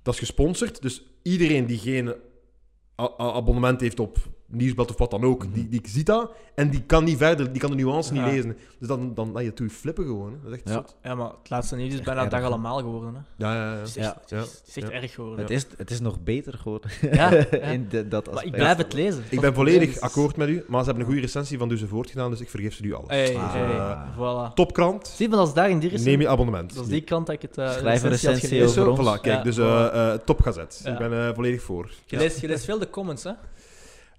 [SPEAKER 2] Dat is gesponsord. Dus iedereen die geen a- a- abonnement heeft op nieuwsblad of wat dan ook, die, die ziet dat. En die kan niet verder, die kan de nuance
[SPEAKER 1] Mhm. Ja.
[SPEAKER 2] niet lezen. Dus dan, dan laat je toe flippen gewoon. Hè. Dat is echt
[SPEAKER 3] Ja.
[SPEAKER 2] zot.
[SPEAKER 1] Ja, maar het laatste nieuws is
[SPEAKER 3] Echt
[SPEAKER 1] bijna
[SPEAKER 3] erg,
[SPEAKER 1] dag
[SPEAKER 3] hè.
[SPEAKER 1] allemaal geworden. Hè.
[SPEAKER 2] Ja, ja, ja.
[SPEAKER 1] Het is
[SPEAKER 3] Ja.
[SPEAKER 1] echt, het is,
[SPEAKER 2] Ja.
[SPEAKER 1] het is echt
[SPEAKER 2] Ja.
[SPEAKER 1] erg geworden.
[SPEAKER 3] Het, is, het is nog beter geworden.
[SPEAKER 1] Ja, ja.
[SPEAKER 3] in de- dat
[SPEAKER 1] maar ik
[SPEAKER 3] aspect.
[SPEAKER 1] blijf het lezen.
[SPEAKER 2] Ik ben volledig akkoord met u, maar ze hebben een goede recensie van Duze Voort gedaan, dus ik vergeef ze nu alles. Dus, eh,
[SPEAKER 1] Hey,
[SPEAKER 3] Ah.
[SPEAKER 1] hey, voilà.
[SPEAKER 2] Topkrant,
[SPEAKER 1] Zie je, maar dat is daar in die recensie.
[SPEAKER 2] neem je abonnement.
[SPEAKER 1] Dat is die kant dat ik het... eh
[SPEAKER 3] Schrijf een
[SPEAKER 1] had
[SPEAKER 3] recensie
[SPEAKER 1] gelezen.
[SPEAKER 2] Is
[SPEAKER 3] over
[SPEAKER 2] zo?
[SPEAKER 3] ons.
[SPEAKER 2] Voilà, kijk,
[SPEAKER 1] Ja.
[SPEAKER 2] dus eh, eh, topgazet.
[SPEAKER 1] Ja.
[SPEAKER 2] Ik ben eh, volledig voor.
[SPEAKER 1] Je leest, je leest veel de comments, hè?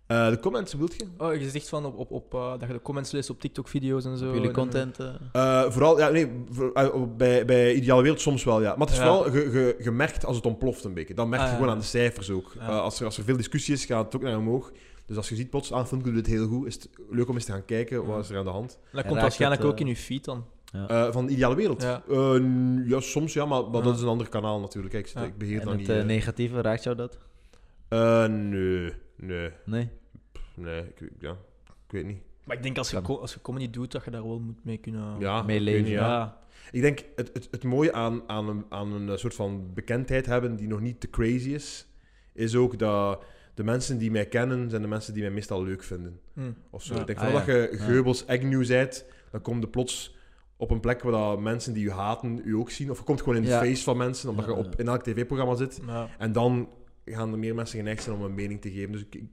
[SPEAKER 2] Eh, de comments, wilt je?
[SPEAKER 1] Oh, je zegt van op, op, op, eh, dat je de comments leest op TikTok-video's en zo.
[SPEAKER 3] Op jullie
[SPEAKER 1] En-
[SPEAKER 3] content. eh,
[SPEAKER 2] Eh, vooral, ja, nee, voor- eh, bij, bij Ideale Wereld soms wel, ja. Maar het is
[SPEAKER 1] Ja.
[SPEAKER 2] vooral ge- ge- gemerkt als het ontploft een beetje. Dan merk je
[SPEAKER 1] Ah, ja.
[SPEAKER 2] gewoon aan de cijfers ook.
[SPEAKER 1] Ja.
[SPEAKER 2] Eh, als, er, als er veel discussie is, gaat het ook naar omhoog. Dus als je ziet, plots, aan filmpje doet het heel goed. Is het leuk om eens te gaan kijken, wat is er aan de hand?
[SPEAKER 1] en dat
[SPEAKER 3] Ja,
[SPEAKER 1] komt
[SPEAKER 3] raakt
[SPEAKER 1] waarschijnlijk
[SPEAKER 3] het, eh,
[SPEAKER 1] ook in je feed dan.
[SPEAKER 2] Eh, van Ideale Wereld?
[SPEAKER 1] Ja.
[SPEAKER 2] Eh, n- ja, soms ja, maar, maar
[SPEAKER 1] Ja.
[SPEAKER 2] dat is een ander kanaal natuurlijk. Kijk, ik, zit-
[SPEAKER 1] Ja.
[SPEAKER 2] ik beheer
[SPEAKER 3] en
[SPEAKER 2] dat niet.
[SPEAKER 3] het eh,
[SPEAKER 2] eh.
[SPEAKER 3] negatieve, raakt jou dat?
[SPEAKER 2] Eh, nee, nee,
[SPEAKER 3] Nee?
[SPEAKER 2] nee. Ik, ik- ja, ik weet niet.
[SPEAKER 1] Maar ik denk als je,
[SPEAKER 3] Kan.
[SPEAKER 1] co- als je comedy doet, dat je daar wel moet mee kunnen...
[SPEAKER 2] ja, Ah, ik
[SPEAKER 3] mee
[SPEAKER 2] weet
[SPEAKER 3] leven, Ah,
[SPEAKER 2] niet, ja. Ik denk het, het, het mooie aan, aan, een, aan een eh, soort van bekendheid hebben die nog niet te crazy is, is ook dat de mensen die mij kennen, zijn de mensen die mij meestal leuk vinden.
[SPEAKER 1] Hm.
[SPEAKER 2] Of zo.
[SPEAKER 1] Ja.
[SPEAKER 2] Ik denk
[SPEAKER 3] Ah,
[SPEAKER 2] vooral
[SPEAKER 3] ja.
[SPEAKER 2] dat je
[SPEAKER 3] Ja.
[SPEAKER 2] Geubels Agnew zijt, dan kom je plots op een plek waar dat mensen die je haten u ook zien. Of je komt gewoon in de
[SPEAKER 3] Ja.
[SPEAKER 2] face van mensen, omdat
[SPEAKER 3] Ja,
[SPEAKER 2] je op,
[SPEAKER 3] ja.
[SPEAKER 2] in elk tv-programma zit.
[SPEAKER 1] Ja.
[SPEAKER 2] En dan gaan er meer mensen geneigd zijn om een mening te geven. Dus, ik, ik-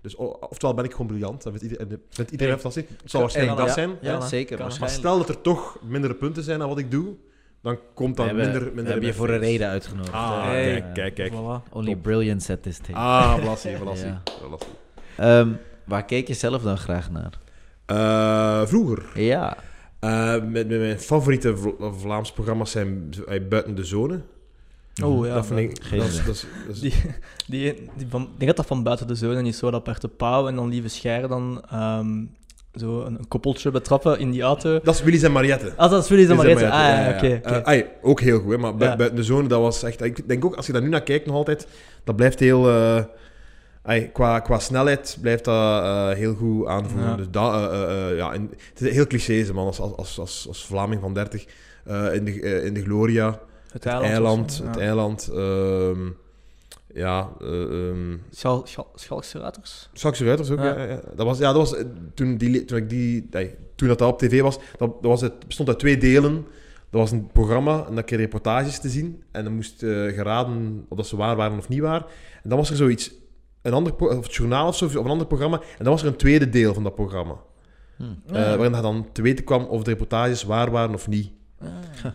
[SPEAKER 2] dus o- oftewel ben ik gewoon briljant, dat vindt iedereen, vindt iedereen fantastisch. Het zal waarschijnlijk
[SPEAKER 1] kan,
[SPEAKER 2] dat zijn.
[SPEAKER 3] Ja,
[SPEAKER 1] Ja,
[SPEAKER 3] zeker.
[SPEAKER 1] kan.
[SPEAKER 2] Maar
[SPEAKER 3] waarschijnlijk.
[SPEAKER 2] stel dat er toch mindere punten zijn dan wat ik doe, dan komt
[SPEAKER 3] We
[SPEAKER 2] dat
[SPEAKER 3] hebben-
[SPEAKER 2] minder...
[SPEAKER 3] we
[SPEAKER 2] minder in
[SPEAKER 3] hebben je
[SPEAKER 2] mijn
[SPEAKER 3] voor een
[SPEAKER 2] face.
[SPEAKER 3] reden uitgenodigd.
[SPEAKER 2] Ah,
[SPEAKER 3] eh,
[SPEAKER 1] Hey.
[SPEAKER 2] kijk, kijk, kijk.
[SPEAKER 1] Voilà.
[SPEAKER 3] Only
[SPEAKER 2] Top.
[SPEAKER 3] brilliance at this table.
[SPEAKER 2] Ah, blassie, blassie.
[SPEAKER 3] Ja.
[SPEAKER 2] blassie.
[SPEAKER 3] Ehm, waar keek je zelf dan graag naar?
[SPEAKER 2] Eh, vroeger,
[SPEAKER 3] Ja.
[SPEAKER 2] eh, met, met mijn favoriete Vla- Vlaams programma's zijn eh, Buiten de Zone.
[SPEAKER 1] Oh ja,
[SPEAKER 2] dat vind
[SPEAKER 1] buiten-
[SPEAKER 2] ik...
[SPEAKER 3] Geen
[SPEAKER 2] dat is-
[SPEAKER 3] idee.
[SPEAKER 2] dat is- dat is-
[SPEAKER 1] Die, die, die van, ik denk dat dat van buiten de zone is, zo dat Bert de Pauw en dan Lieve Scheir dan ehm, zo een, een koppeltje betrappen in die auto.
[SPEAKER 2] Dat is Willys en Mariette.
[SPEAKER 1] Ah, dat is Willy
[SPEAKER 2] Is
[SPEAKER 1] maar
[SPEAKER 2] dat
[SPEAKER 1] Ah,
[SPEAKER 2] Mariette?
[SPEAKER 1] ja, oké.
[SPEAKER 2] ja.
[SPEAKER 1] oké.
[SPEAKER 2] Eh, ai, ook heel goed, hè, maar bu-
[SPEAKER 1] Ja.
[SPEAKER 2] buiten de zone, dat was echt... Ik denk ook, als je daar nu naar kijkt nog altijd, dat blijft heel... eh, ai, qua, qua snelheid blijft dat eh, heel goed aanvoeren.
[SPEAKER 1] Ja.
[SPEAKER 2] Dus dat, eh, eh, eh, ja, en het is heel cliché, man, als, als, als, als, als Vlaming van 30. eh, in, de, eh, in de Gloria, het
[SPEAKER 1] het
[SPEAKER 2] eiland,
[SPEAKER 1] was-
[SPEAKER 2] het
[SPEAKER 1] ja.
[SPEAKER 2] eiland... ehm, ja, eh, ehm,
[SPEAKER 1] Schal, schal, Schalkse Ruiters?
[SPEAKER 2] Straks eruit of zo.
[SPEAKER 1] Ja.
[SPEAKER 2] Ja. ja, ja. Dat was, ja, dat was eh, toen, die, li- toen ik die, nee, toen dat, dat op tv was, dat, dat was het, bestond uit twee delen. Dat was een programma en dan kreeg je reportages te zien. En dan moest eh, geraden of dat ze waar waren of niet waar. En dan was er zoiets, een ander pro- of het journaal of zo, of een ander programma. En dan was er een tweede deel van dat programma.
[SPEAKER 3] Hm.
[SPEAKER 2] eh, waarin je dan te weten kwam of de reportages waar waren of niet.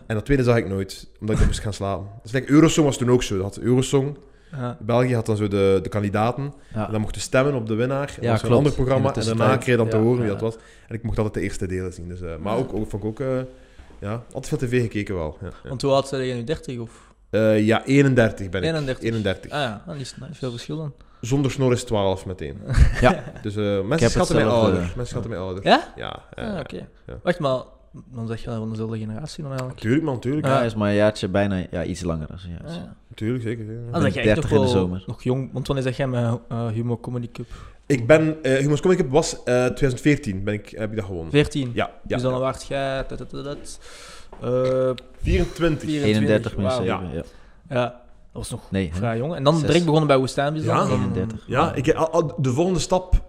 [SPEAKER 2] En dat tweede zag ik nooit, omdat ik dan moest gaan slapen. Dus like, Eurosong was toen ook zo. Dat had Eurosong.
[SPEAKER 1] Ja.
[SPEAKER 2] België had dan zo de, de kandidaten.
[SPEAKER 3] Ja.
[SPEAKER 2] En dan mochten stemmen op de winnaar. En
[SPEAKER 3] Ja,
[SPEAKER 2] dat was een
[SPEAKER 3] klopt.
[SPEAKER 2] ander
[SPEAKER 3] In
[SPEAKER 2] programma.
[SPEAKER 3] de
[SPEAKER 2] En daarna kreeg je dan te
[SPEAKER 3] tussentijd,
[SPEAKER 2] horen
[SPEAKER 3] ja,
[SPEAKER 2] wie dat was. En ik mocht altijd de eerste delen zien. Dus, eh, maar ook, ook, vond ik ook... eh, ja, altijd veel tv gekeken wel. Ja, ja.
[SPEAKER 1] Want hoe oud zijn jij nu? 30 of
[SPEAKER 2] Eh, ja 31 ben ik.
[SPEAKER 1] 31?
[SPEAKER 2] 31.
[SPEAKER 1] Ah ja, dan is er niet veel verschil dan.
[SPEAKER 2] Zonder snor is 12 meteen.
[SPEAKER 3] Ja.
[SPEAKER 2] Dus eh, mensen
[SPEAKER 3] heb
[SPEAKER 2] schatten mij
[SPEAKER 3] hetzelfde.
[SPEAKER 2] ouder. Mensen schatten mij ouder.
[SPEAKER 1] Ja?
[SPEAKER 2] Ja. eh,
[SPEAKER 1] Ah, oké.
[SPEAKER 2] ja.
[SPEAKER 1] Wacht, maar dan zeg je dan van dezelfde generatie dan eigenlijk.
[SPEAKER 2] Tuurlijk man, tuurlijk.
[SPEAKER 1] Ja.
[SPEAKER 3] Ja, is maar een jaartje bijna ja, iets langer. dan een jaartje.
[SPEAKER 1] Ja.
[SPEAKER 2] Tuurlijk, zeker. ja.
[SPEAKER 1] Ah, dan
[SPEAKER 3] ben
[SPEAKER 1] zeg jij
[SPEAKER 3] 30
[SPEAKER 1] toch
[SPEAKER 3] in de
[SPEAKER 1] wel
[SPEAKER 3] zomer.
[SPEAKER 1] Nog jong, want wanneer zeg jij met eh Humo Comedy Cup?
[SPEAKER 2] Ik ben... eh Humans Comic Cup was eh, 2014. Ben ik, heb ik dat gewonnen.
[SPEAKER 1] 14.
[SPEAKER 2] Ja. ja
[SPEAKER 1] dus dan
[SPEAKER 2] ja.
[SPEAKER 1] waard jij... dat, dat, dat, dat, eh,
[SPEAKER 2] 24.
[SPEAKER 3] 31
[SPEAKER 1] wauw.
[SPEAKER 3] minus 7.
[SPEAKER 2] Ja.
[SPEAKER 3] Ja.
[SPEAKER 1] Ja, dat was nog
[SPEAKER 3] Nee, hè?
[SPEAKER 1] vrij jong. En dan
[SPEAKER 3] Zes.
[SPEAKER 1] direct begonnen bij Woestijnbies.
[SPEAKER 2] Ja.
[SPEAKER 1] dan? Dan-
[SPEAKER 3] 31.
[SPEAKER 2] Ja, ik, al- al- de volgende stap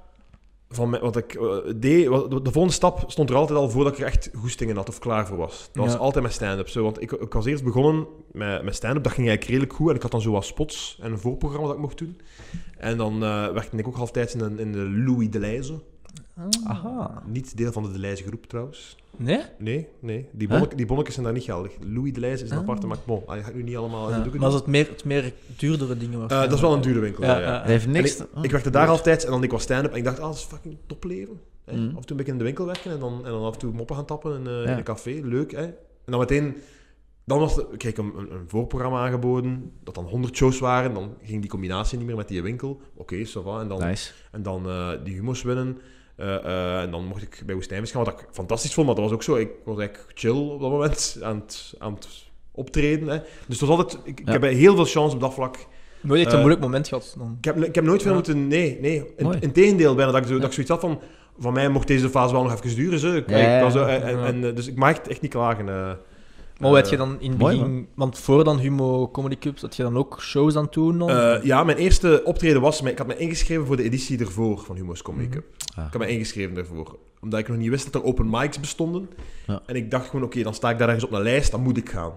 [SPEAKER 2] van mij- wat ik eh, deed, wat- de volgende stap stond er altijd al voordat ik er echt goesting in had of klaar voor was. Dat
[SPEAKER 1] Ja.
[SPEAKER 2] was altijd mijn stand-up. Zo, want ik, ik was eerst begonnen met, met stand-up, dat ging eigenlijk redelijk goed. En ik had dan zo wat spots en een voorprogramma dat ik mocht doen. En dan eh, werkte ik ook halftijds in, een- in de Louis de Leize.
[SPEAKER 1] Aha.
[SPEAKER 2] Niet deel van de De Leize groep trouwens.
[SPEAKER 1] Ah. Nee?
[SPEAKER 2] Nee, nee. Die,
[SPEAKER 3] Huh?
[SPEAKER 2] bonnek, die bonnetjes zijn daar niet geldig. Louis de Leize is een
[SPEAKER 1] Ah.
[SPEAKER 2] aparte, maar bon, dat ga ik nu niet allemaal
[SPEAKER 1] Ja.
[SPEAKER 2] in de doeken
[SPEAKER 1] Maar als het
[SPEAKER 2] doen.
[SPEAKER 1] meer, het meer duurdere dingen was.
[SPEAKER 2] Eh, dat is wel een dure winkel.
[SPEAKER 1] Ja,
[SPEAKER 2] ja, ja.
[SPEAKER 1] ja.
[SPEAKER 3] Dat heeft
[SPEAKER 2] En
[SPEAKER 3] niks...
[SPEAKER 2] ik,
[SPEAKER 3] te- oh.
[SPEAKER 2] ik werkte daar altijd en dan ik was stand-up en ik dacht, ah, dat is fucking topleven. Hè?
[SPEAKER 3] Mm.
[SPEAKER 2] Af en toe ben ik in de winkel werken en dan, en dan af en toe moppen gaan tappen in, eh,
[SPEAKER 3] Ja.
[SPEAKER 2] in een café. Leuk, hè. En dan meteen Dan was er, kijk, een, een, een voorprogramma aangeboden, dat dan 100 shows waren. Dan ging die combinatie niet meer met die winkel. Oké, ça va. En dan,
[SPEAKER 3] Hm. Nice.
[SPEAKER 2] en dan eh, die humo's winnen. Eh, eh, en dan mocht ik bij Woestijnvis gaan, wat ik fantastisch vond. Maar dat was ook zo. Ik was eigenlijk chill op dat moment aan het, aan het optreden. Hè. Dus dat was altijd, ik, ik
[SPEAKER 3] Ja.
[SPEAKER 2] heb heel veel chance op dat vlak.
[SPEAKER 1] Nooit echt een
[SPEAKER 2] Eh,
[SPEAKER 1] moeilijk moment gehad. Dan.
[SPEAKER 2] Ik heb, ik heb nooit veel
[SPEAKER 1] Ja.
[SPEAKER 2] moeten... Nee, nee.
[SPEAKER 3] Mooi.
[SPEAKER 2] In, tegendeel, bijna. Dat ik, zo,
[SPEAKER 1] Ja.
[SPEAKER 2] dat ik zoiets had van... Van mij mocht deze fase wel nog even duren. Zo. Ik,
[SPEAKER 3] Ja,
[SPEAKER 2] ik
[SPEAKER 3] ja,
[SPEAKER 2] was,
[SPEAKER 3] ja.
[SPEAKER 2] eh, en,
[SPEAKER 1] Ja.
[SPEAKER 2] en, eh, dus ik mag echt, echt niet klagen. eh.
[SPEAKER 1] Maar
[SPEAKER 2] Eh,
[SPEAKER 1] had je dan in het
[SPEAKER 3] mooi,
[SPEAKER 1] begin, want voor dan Humo Comedy Cups, had je dan ook shows aan het doen? dan?
[SPEAKER 2] eh, ja, mijn eerste optreden was... Ik had me ingeschreven voor de editie ervoor van Humo's Comedy
[SPEAKER 1] Mhm.
[SPEAKER 2] Cup.
[SPEAKER 3] Ah.
[SPEAKER 2] Ik had me ingeschreven daarvoor. Omdat ik nog niet wist dat er open mics bestonden.
[SPEAKER 3] Ja.
[SPEAKER 2] En ik dacht gewoon, oké, dan sta ik daar ergens op een lijst. Dan moet ik gaan.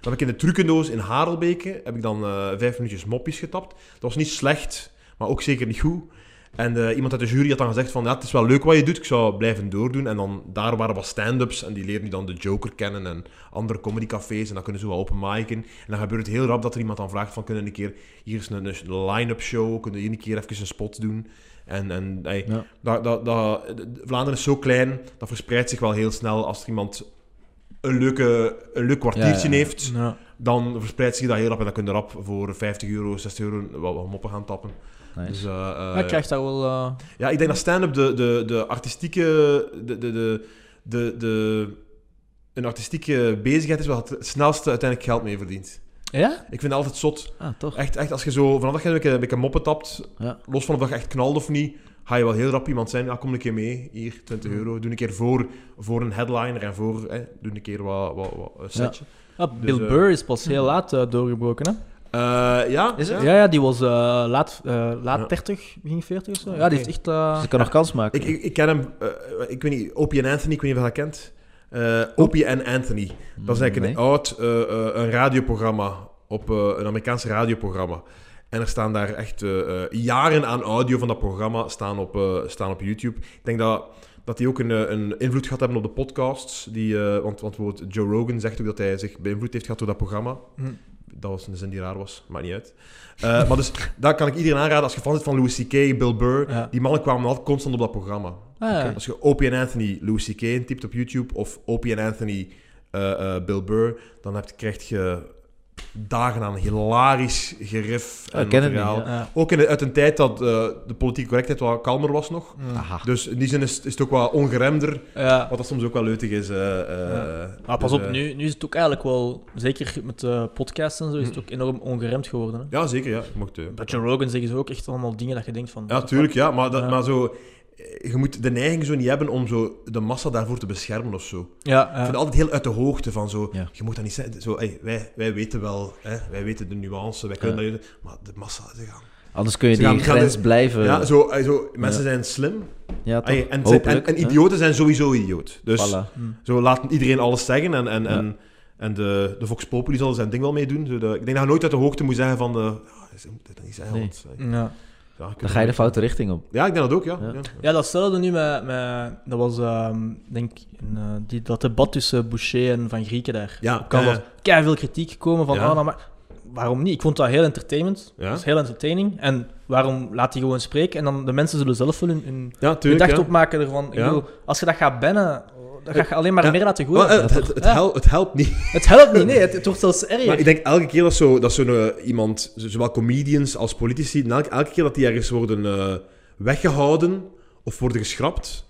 [SPEAKER 2] Dan heb ik in de trucendoos in Harelbeke... Heb ik dan eh, vijf minuutjes mopjes getapt. Dat was niet slecht, maar ook zeker niet goed. En eh, iemand uit de jury had dan gezegd van... Ja, het is wel leuk wat je doet. Ik zou blijven doordoen. En dan daar waren wat stand-ups. En die leerden nu dan de Joker kennen. En andere comedycafés. En dan kunnen ze wel open micen. En dan gebeurt het heel rap dat er iemand dan vraagt van... Kunnen we een keer... Hier is een, een line-up show. Kunnen we hier een keer even een spot doen? En, en ey,
[SPEAKER 3] Ja.
[SPEAKER 2] dat, dat, dat, Vlaanderen is zo klein, dat verspreidt zich wel heel snel. Als er iemand een, leuke, een leuk kwartiertje
[SPEAKER 3] Ja, ja, ja.
[SPEAKER 2] heeft,
[SPEAKER 1] ja.
[SPEAKER 2] dan verspreidt zich dat heel rap. En dan kun je rap voor 50 euro, 60 euro wat, wat moppen gaan tappen.
[SPEAKER 3] Nice.
[SPEAKER 2] Dus, eh, eh,
[SPEAKER 1] Ja, ik krijg daar wel... eh,
[SPEAKER 2] ja, ik denk dat stand-up de, de, de artistieke... De, de, de, de, de, een artistieke bezigheid is waar het snelste uiteindelijk geld mee verdient.
[SPEAKER 1] Ja?
[SPEAKER 2] Ik vind het altijd zot.
[SPEAKER 3] Ah, toch?
[SPEAKER 2] Echt, echt als je zo... Vanaf dat je een beetje- een beetje moppen tapt,
[SPEAKER 3] Ja.
[SPEAKER 2] los van of dat je echt knalt of niet, ga je wel heel rap iemand zijn. Ja, kom een keer mee, hier, 20
[SPEAKER 3] Mhm.
[SPEAKER 2] euro. Doe een keer voor, voor een headliner en voor... Hè, doe een keer wat, wat, wat een setje.
[SPEAKER 1] Ah, Bill
[SPEAKER 2] eh,
[SPEAKER 1] Burr is pas heel laat eh, doorgebroken, hè?
[SPEAKER 2] Ja. Eh, ja?
[SPEAKER 3] Is het?
[SPEAKER 2] ja.
[SPEAKER 1] Ja, ja die was eh, laat, eh, laat
[SPEAKER 2] Ja.
[SPEAKER 1] 30, begin 40 of zo. Ja,
[SPEAKER 2] Oké.
[SPEAKER 1] die heeft echt... eh,
[SPEAKER 3] Dus ik kan nog kans maken.
[SPEAKER 2] Ik, ik, ik ken hem... eh, ik weet niet, Opie en Anthony, ik weet niet of je dat kent. Eh,
[SPEAKER 3] Oh.
[SPEAKER 2] Opie en Anthony.
[SPEAKER 3] Hm,
[SPEAKER 2] Dat is eigenlijk een oud eh, eh, een radioprogramma, op, eh, een Amerikaans radioprogramma. En er staan daar echt eh, eh, jaren aan audio van dat programma staan op, eh, staan op YouTube. Ik denk dat, dat die ook een, eh, een invloed gehad hebben op de podcasts. Die, eh, want, want bijvoorbeeld Joe Rogan zegt ook dat hij zich beïnvloed heeft gehad door dat programma.
[SPEAKER 1] Hm.
[SPEAKER 2] Dat was een zin die raar was, maakt niet uit. Eh, maar dus, daar kan ik iedereen aanraden als je fan bent van Louis C.K., Bill Burr.
[SPEAKER 1] Ja.
[SPEAKER 2] Die mannen kwamen altijd constant op dat programma.
[SPEAKER 1] Ah, ja.
[SPEAKER 2] Als je Opie en Anthony Louis C.K. intypt op YouTube of Opie en Anthony eh, eh, Bill Burr, dan heb je, krijg je dagen aan hilarisch gerif
[SPEAKER 3] Oh,
[SPEAKER 2] en
[SPEAKER 3] ik ken het
[SPEAKER 2] materiaal.
[SPEAKER 3] niet,
[SPEAKER 1] Ja.
[SPEAKER 2] Ook in, de- uit een tijd dat eh, de politieke correctheid wat kalmer was nog.
[SPEAKER 1] Hm.
[SPEAKER 3] Aha.
[SPEAKER 2] Dus in die zin is, is het ook wat ongeremder,
[SPEAKER 1] Ja.
[SPEAKER 2] wat dat soms ook wel leutig is. eh, eh,
[SPEAKER 1] Maar Ah, pas
[SPEAKER 2] dus,
[SPEAKER 1] op,
[SPEAKER 2] eh,
[SPEAKER 1] nu, nu is het ook eigenlijk wel, zeker met de podcast en zo, is het ook enorm ongeremd geworden. Hè?
[SPEAKER 2] Ja, zeker. Hm. Ja. Je mocht, eh,
[SPEAKER 1] Dat Joe Rogan zegt ook echt allemaal dingen dat je denkt van...
[SPEAKER 2] Ja, tuurlijk, ja. Maar, dat,
[SPEAKER 1] Ja.
[SPEAKER 2] maar zo, eh, je moet de neiging zo niet hebben om zo de massa daarvoor te beschermen of zo.
[SPEAKER 1] Ja,
[SPEAKER 2] Ik
[SPEAKER 1] ja.
[SPEAKER 2] vind het altijd heel uit de hoogte van zo.
[SPEAKER 3] Ja.
[SPEAKER 2] Je moet dat niet zeggen. Zo, hey, wij, wij weten wel, hè, wij weten de nuance, wij kunnen dat. Maar de massa, ze gaan.
[SPEAKER 3] Anders kun je
[SPEAKER 2] Dus Ze
[SPEAKER 3] die
[SPEAKER 2] gaan- gaan
[SPEAKER 3] grens
[SPEAKER 2] dit-
[SPEAKER 3] blijven.
[SPEAKER 2] ja,
[SPEAKER 3] Eh, Ja,
[SPEAKER 2] zo, hey, zo, mensen zijn slim.
[SPEAKER 3] toch?
[SPEAKER 2] Hey, en, zijn- en,
[SPEAKER 3] Hopelijk,
[SPEAKER 2] en
[SPEAKER 3] hè?
[SPEAKER 2] idioten zijn sowieso idioot. Dus
[SPEAKER 3] Voilà.
[SPEAKER 1] Hm.
[SPEAKER 2] zo laat iedereen alles zeggen en. en, en en de, de Vox Populi zal zijn ding wel mee doen. Zo de- ik denk dat je nooit uit de hoogte moet zeggen van... De, ja, ze moeten dat niet zeggen,
[SPEAKER 3] Nee.
[SPEAKER 2] want... eh,
[SPEAKER 1] ja.
[SPEAKER 2] ja, ik-
[SPEAKER 3] Dan ga je de foute richting op.
[SPEAKER 2] Ja, ik denk dat ook, ja.
[SPEAKER 3] Ja.
[SPEAKER 2] ja.
[SPEAKER 1] Ja, datzelfde nu met... met dat was, ehm, denk ik, in, eh, die, dat debat tussen Boucher en Van Grieken daar.
[SPEAKER 2] Ja,
[SPEAKER 1] Op Canvas.
[SPEAKER 2] eh,
[SPEAKER 1] Kei veel kritiek gekomen van,
[SPEAKER 2] Ja.
[SPEAKER 1] ah, nou, maar waarom niet? Ik vond dat heel entertainment.
[SPEAKER 2] Ja.
[SPEAKER 1] Dat is heel entertaining. En waarom laat hij gewoon spreken? En dan de mensen zullen zelf wel hun, hun
[SPEAKER 2] Ja, tuurlijk.
[SPEAKER 1] gedachten
[SPEAKER 2] ja.
[SPEAKER 1] opmaken ervan. Ik
[SPEAKER 2] Ja.
[SPEAKER 1] bedoel, als je dat gaat bannen, dan ga je alleen maar
[SPEAKER 2] Ja.
[SPEAKER 1] meer laten
[SPEAKER 2] Wel,
[SPEAKER 1] gooien.
[SPEAKER 2] eh, het, het, het
[SPEAKER 1] Ja.
[SPEAKER 2] hel- het helpt niet.
[SPEAKER 1] Het helpt niet, nee. Het, het wordt zelfs erger.
[SPEAKER 2] Maar ik denk elke keer dat zo'n dat zo iemand, z- zowel comedians als politici, elke, elke keer dat die ergens worden eh, weggehouden of worden geschrapt,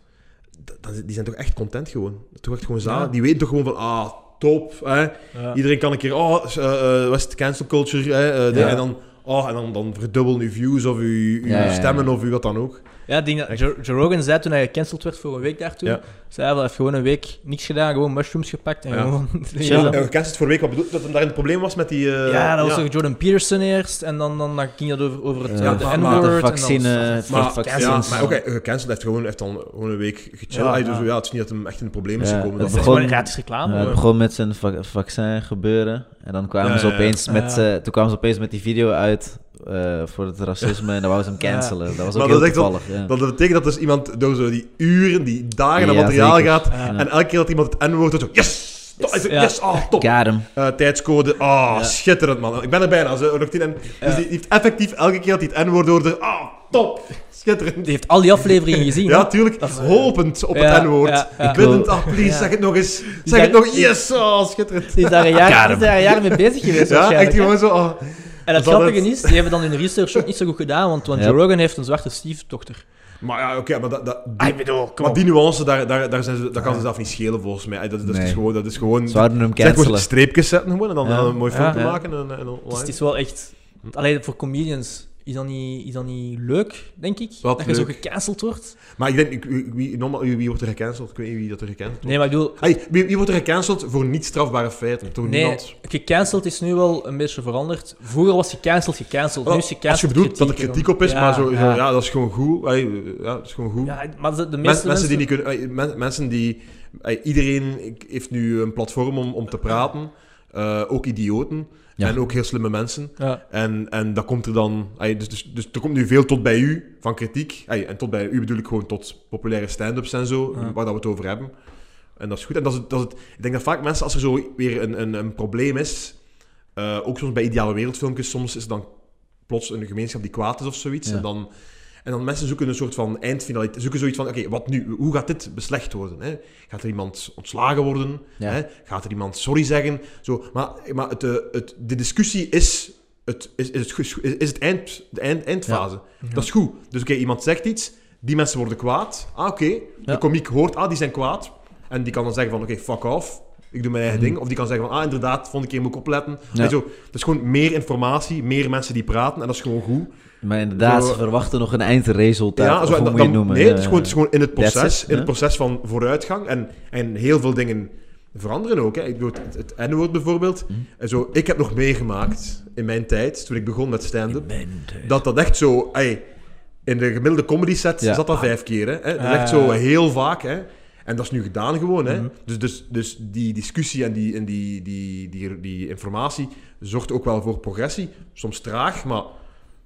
[SPEAKER 2] d- dan, die zijn toch echt content gewoon. Toch echt gewoon zalig.
[SPEAKER 1] Ja.
[SPEAKER 2] Die weten toch gewoon van, ah, top. Hè?
[SPEAKER 1] Ja.
[SPEAKER 2] Iedereen kan een keer, oh, s- eh, eh, was het cancel culture? Hè? eh, de-
[SPEAKER 3] Ja.
[SPEAKER 2] En dan... Oh, en dan, dan verdubbelen uw views of uw, uw
[SPEAKER 3] Ja, ja, ja.
[SPEAKER 2] stemmen of uw wat dan ook.
[SPEAKER 1] Ja, ik denk dat Joe, Joe Rogan zei toen hij gecanceld werd voor een week daartoe.
[SPEAKER 2] Ja.
[SPEAKER 1] Zei hij wel, heeft gewoon een week niks gedaan, gewoon mushrooms gepakt en
[SPEAKER 2] Ja.
[SPEAKER 1] gewoon...
[SPEAKER 3] Ja.
[SPEAKER 2] Ja, gecanceld voor week, wat bedoel dat hem daar een probleem was met die... eh,
[SPEAKER 1] Ja, dat was toch Jordan Peterson eerst en dan, dan, dan ging dat over, over het
[SPEAKER 3] Ja,
[SPEAKER 1] eh, de
[SPEAKER 2] maar-
[SPEAKER 1] N-word.
[SPEAKER 2] maar
[SPEAKER 1] en
[SPEAKER 3] de
[SPEAKER 1] dan-
[SPEAKER 3] vaccine-
[SPEAKER 2] Maar,
[SPEAKER 3] Voor vaccins.
[SPEAKER 2] ja, maar ook hij- gecanceld heeft gewoon, heeft dan gewoon een week gechillen.
[SPEAKER 1] Ja,
[SPEAKER 2] Hij doet
[SPEAKER 1] ja.
[SPEAKER 2] zo, ja, het is niet dat hem echt in de problemen is
[SPEAKER 3] Ja,
[SPEAKER 2] gekomen.
[SPEAKER 3] het
[SPEAKER 1] Dat
[SPEAKER 2] Dat-
[SPEAKER 1] is
[SPEAKER 3] begon-
[SPEAKER 1] gewoon gratis reclame.
[SPEAKER 3] Ja, het
[SPEAKER 1] hoor.
[SPEAKER 3] begon met zijn vac- vaccin gebeuren. En dan kwamen
[SPEAKER 2] Ja,
[SPEAKER 3] ze
[SPEAKER 2] ja, ja.
[SPEAKER 3] opeens met...
[SPEAKER 1] Ja.
[SPEAKER 3] eh, toen kwamen ze opeens met die video uit eh, voor het racisme. En dan wouden ze hem cancelen. Dat was ook
[SPEAKER 2] Maar
[SPEAKER 3] heel
[SPEAKER 2] dat is echt wel-
[SPEAKER 3] toevallig. ja.
[SPEAKER 2] Dat betekent dat dus iemand door zo die uren, die dagen naar
[SPEAKER 3] Ja,
[SPEAKER 2] materiaal
[SPEAKER 3] zeker.
[SPEAKER 2] gaat.
[SPEAKER 1] Ja.
[SPEAKER 2] En elke keer dat iemand het N-woord doet, zo, yes! Top, yes,
[SPEAKER 1] Ja.
[SPEAKER 2] yes, ah, top.
[SPEAKER 3] Got him.
[SPEAKER 2] Eh, tijdscode, ah, schitterend man. Ik ben er bijna, ze lukt in. Dus
[SPEAKER 1] Ja.
[SPEAKER 2] die heeft effectief elke keer dat hij het N-woord hoorde, ah, top. Schitterend.
[SPEAKER 1] Die heeft al die afleveringen gezien.
[SPEAKER 2] Ja,
[SPEAKER 1] hè?
[SPEAKER 2] tuurlijk.
[SPEAKER 1] Dat is, eh,
[SPEAKER 2] Hopend op
[SPEAKER 1] ja,
[SPEAKER 2] het N-woord.
[SPEAKER 1] ja, ja.
[SPEAKER 2] Ik wil het, ah, please,
[SPEAKER 1] Ja.
[SPEAKER 2] zeg het nog eens. Zeg
[SPEAKER 1] daar-
[SPEAKER 2] het nog, yes, oh, schitterend.
[SPEAKER 1] Die is daar een jaar, die
[SPEAKER 3] Karim.
[SPEAKER 1] is daar een jaar mee bezig geweest.
[SPEAKER 2] Ja,
[SPEAKER 1] waarschijnlijk,
[SPEAKER 2] echt
[SPEAKER 1] hè?
[SPEAKER 2] gewoon zo. ah.
[SPEAKER 1] En het
[SPEAKER 2] Dat
[SPEAKER 1] grappige
[SPEAKER 2] het-
[SPEAKER 1] is, die hebben dan hun research ook niet zo goed gedaan, want, want
[SPEAKER 3] Ja.
[SPEAKER 1] Joe Rogan heeft een zwarte stiefdochter.
[SPEAKER 2] Maar ja, oké, maar, dat, dat,
[SPEAKER 1] Ah,
[SPEAKER 2] die,
[SPEAKER 1] Ik bedoel, kom
[SPEAKER 2] maar
[SPEAKER 1] op.
[SPEAKER 2] die nuance, daar, daar, daar zijn ze, dat kan ze zelf niet schelen volgens mij. Dat, dat, is,
[SPEAKER 3] Nee.
[SPEAKER 2] dus gewoon, dat is gewoon.
[SPEAKER 3] Ze zouden hem
[SPEAKER 2] Zeg, gewoon
[SPEAKER 3] cancelen.
[SPEAKER 2] streepjes zetten gewoon en dan
[SPEAKER 3] Ja.
[SPEAKER 2] eh, een mooi
[SPEAKER 1] Ja,
[SPEAKER 2] filmpje
[SPEAKER 1] ja.
[SPEAKER 2] maken. En, en online.
[SPEAKER 1] Dus het is wel echt... Alleen voor comedians is dat niet, is dat niet leuk, denk ik?
[SPEAKER 2] Wat
[SPEAKER 1] dat je zo
[SPEAKER 2] leuk.
[SPEAKER 1] gecanceld wordt.
[SPEAKER 2] Maar ik denk, ik- wie, wie, normaal- wie wordt er gecanceld? Ik weet niet wie dat er gecanceld wordt.
[SPEAKER 1] Nee, maar ik bedoel,
[SPEAKER 2] Hey, wie, wie wordt er gecanceld voor niet strafbare feiten? Toch
[SPEAKER 1] nee,
[SPEAKER 2] niemand?
[SPEAKER 1] gecanceld is nu wel een beetje veranderd. Vroeger was gecanceld gecanceld, nu is gecanceld
[SPEAKER 2] Als je bedoelt dat er kritiek op is,
[SPEAKER 1] Ja,
[SPEAKER 2] maar zo, zo,
[SPEAKER 1] ja.
[SPEAKER 2] ja. dat is gewoon goed. Hey, ja, dat is gewoon goed.
[SPEAKER 1] Ja, maar de, de meeste
[SPEAKER 2] Men- mensen, die niet kunnen, eh, men- mensen die. eh, iedereen ik- heeft nu een platform om, om te praten. Eh, ook idioten.
[SPEAKER 3] Ja.
[SPEAKER 2] En ook heel slimme mensen.
[SPEAKER 1] Ja.
[SPEAKER 2] En, en dat komt er dan. eh, dus, dus, dus er komt nu veel tot bij u van kritiek. Eh, en tot bij u bedoel ik gewoon tot populaire stand-ups en zo,
[SPEAKER 1] Ja.
[SPEAKER 2] waar dat we het over hebben. En dat is goed. En dat is, het- dat is het, ik denk dat vaak mensen, als er zo weer een, een, een probleem is, eh, ook soms bij ideale wereldfilmpjes, soms is er dan plots een gemeenschap die kwaad is of zoiets.
[SPEAKER 3] Ja.
[SPEAKER 2] En, dan, en dan mensen zoeken een soort van eindfinaliteit. Zoeken zoiets van, oké, wat nu? Hoe gaat dit beslecht worden? Hè? Gaat er iemand ontslagen worden?
[SPEAKER 3] Ja.
[SPEAKER 2] Hè? Gaat er iemand sorry zeggen? Zo, maar maar het, eh, het, de discussie is... Het, is, is, het, goed- is het eind, de eind, eindfase. Dat is goed. Dus oké, iemand zegt iets, die mensen worden kwaad. Ah, oké.
[SPEAKER 3] Ja.
[SPEAKER 2] De komiek hoort, ah, die zijn kwaad. En die kan dan zeggen van, oké, fuck off. Ik doe mijn eigen ding. Of die kan zeggen van, ah, inderdaad, volgende keer moet ik opletten.
[SPEAKER 3] Hmm. Ja.
[SPEAKER 2] En zo. Dat is gewoon meer informatie, meer mensen die praten. En dat is gewoon goed.
[SPEAKER 3] Maar inderdaad,
[SPEAKER 2] Zo-
[SPEAKER 3] ze verwachten nog een eindresultaat.
[SPEAKER 2] Ja,
[SPEAKER 3] of
[SPEAKER 2] zo, en
[SPEAKER 3] hoe
[SPEAKER 2] dan-
[SPEAKER 3] moet je het
[SPEAKER 2] dan-
[SPEAKER 3] noemen?
[SPEAKER 2] Nee, het is, gewoon, het is
[SPEAKER 3] Eh,
[SPEAKER 2] gewoon in het
[SPEAKER 3] that's
[SPEAKER 2] proces.
[SPEAKER 3] it,
[SPEAKER 2] in
[SPEAKER 3] hè?
[SPEAKER 2] het proces van vooruitgang. En, en heel veel dingen veranderen ook. Hè. Ik bedoel, het, het N-woord bijvoorbeeld.
[SPEAKER 3] Hm?
[SPEAKER 2] En zo, ik heb nog meegemaakt in mijn tijd, toen ik begon met stand-up. dat dat echt zo... ey, in de gemiddelde comedy set
[SPEAKER 3] Ja.
[SPEAKER 2] zat dat vijf keer. Hè? Dat is
[SPEAKER 1] Ah.
[SPEAKER 2] echt zo eh, heel vaak. Hè? En dat is nu gedaan gewoon.
[SPEAKER 3] Hm.
[SPEAKER 2] Hè? Dus, dus, dus die discussie en, die, en die, die, die, die informatie zorgt ook wel voor progressie. Soms traag, maar...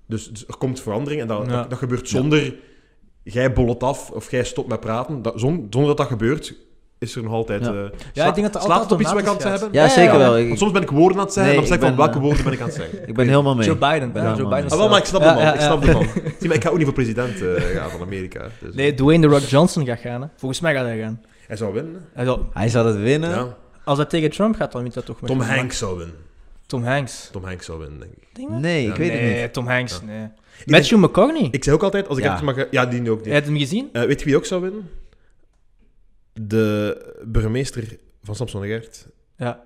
[SPEAKER 2] Dus, dus er komt verandering en dat,
[SPEAKER 1] Ja.
[SPEAKER 2] dat, dat gebeurt zonder... Jij bollet af of jij stopt met praten. Dat, zon- zonder dat dat gebeurt, is er nog altijd...
[SPEAKER 3] Ja.
[SPEAKER 2] eh,
[SPEAKER 1] Ja, ik denk dat dat
[SPEAKER 2] slaat het op iets wat ik
[SPEAKER 1] automatisch
[SPEAKER 2] aan het
[SPEAKER 1] gaat.
[SPEAKER 2] hebben?
[SPEAKER 3] Ja, zeker wel.
[SPEAKER 2] Want
[SPEAKER 3] Ik,
[SPEAKER 2] soms ben ik woorden aan het zeggen
[SPEAKER 3] Nee,
[SPEAKER 2] en dan zeg ik van,
[SPEAKER 3] ik ben,
[SPEAKER 2] welke
[SPEAKER 3] eh,
[SPEAKER 2] woorden ben ik aan het zeggen?
[SPEAKER 3] ik ben helemaal mee.
[SPEAKER 1] Joe Biden, hè?
[SPEAKER 3] Ja,
[SPEAKER 1] Joe
[SPEAKER 3] man.
[SPEAKER 1] Biden.
[SPEAKER 3] Ah,
[SPEAKER 2] Ah, wel, maar ik snap
[SPEAKER 1] Ja,
[SPEAKER 2] de man.
[SPEAKER 1] ja,
[SPEAKER 2] Ik snap
[SPEAKER 1] ja.
[SPEAKER 2] de man. Zie, maar ik ga ook niet voor president eh, gaan van Amerika. Dus.
[SPEAKER 1] Nee, Dwayne The Rock Johnson gaat gaan. Hè. Volgens mij gaat hij gaan.
[SPEAKER 2] Hij zou winnen.
[SPEAKER 1] Hij zal-
[SPEAKER 3] Hij zou het winnen.
[SPEAKER 2] Ja.
[SPEAKER 1] als hij tegen Trump gaat, dan wint dat toch met
[SPEAKER 2] Tom
[SPEAKER 1] gemak.
[SPEAKER 2] Hanks zou winnen.
[SPEAKER 1] Tom Hanks.
[SPEAKER 2] Tom Hanks zou winnen, denk ik.
[SPEAKER 1] Denk je dat?
[SPEAKER 3] Nee, ik
[SPEAKER 2] Ja,
[SPEAKER 3] weet
[SPEAKER 1] nee,
[SPEAKER 3] het niet.
[SPEAKER 1] Tom Hanks,
[SPEAKER 2] Ja.
[SPEAKER 1] nee. Matthew McConaughey.
[SPEAKER 2] Ik zeg ook altijd, als ik
[SPEAKER 3] Ja.
[SPEAKER 2] even mag... Ja, die nu ook. Die.
[SPEAKER 1] Heb je hem gezien?
[SPEAKER 2] Eh, weet je wie ook zou winnen? De burgemeester van Samson en Gert.
[SPEAKER 1] Ja.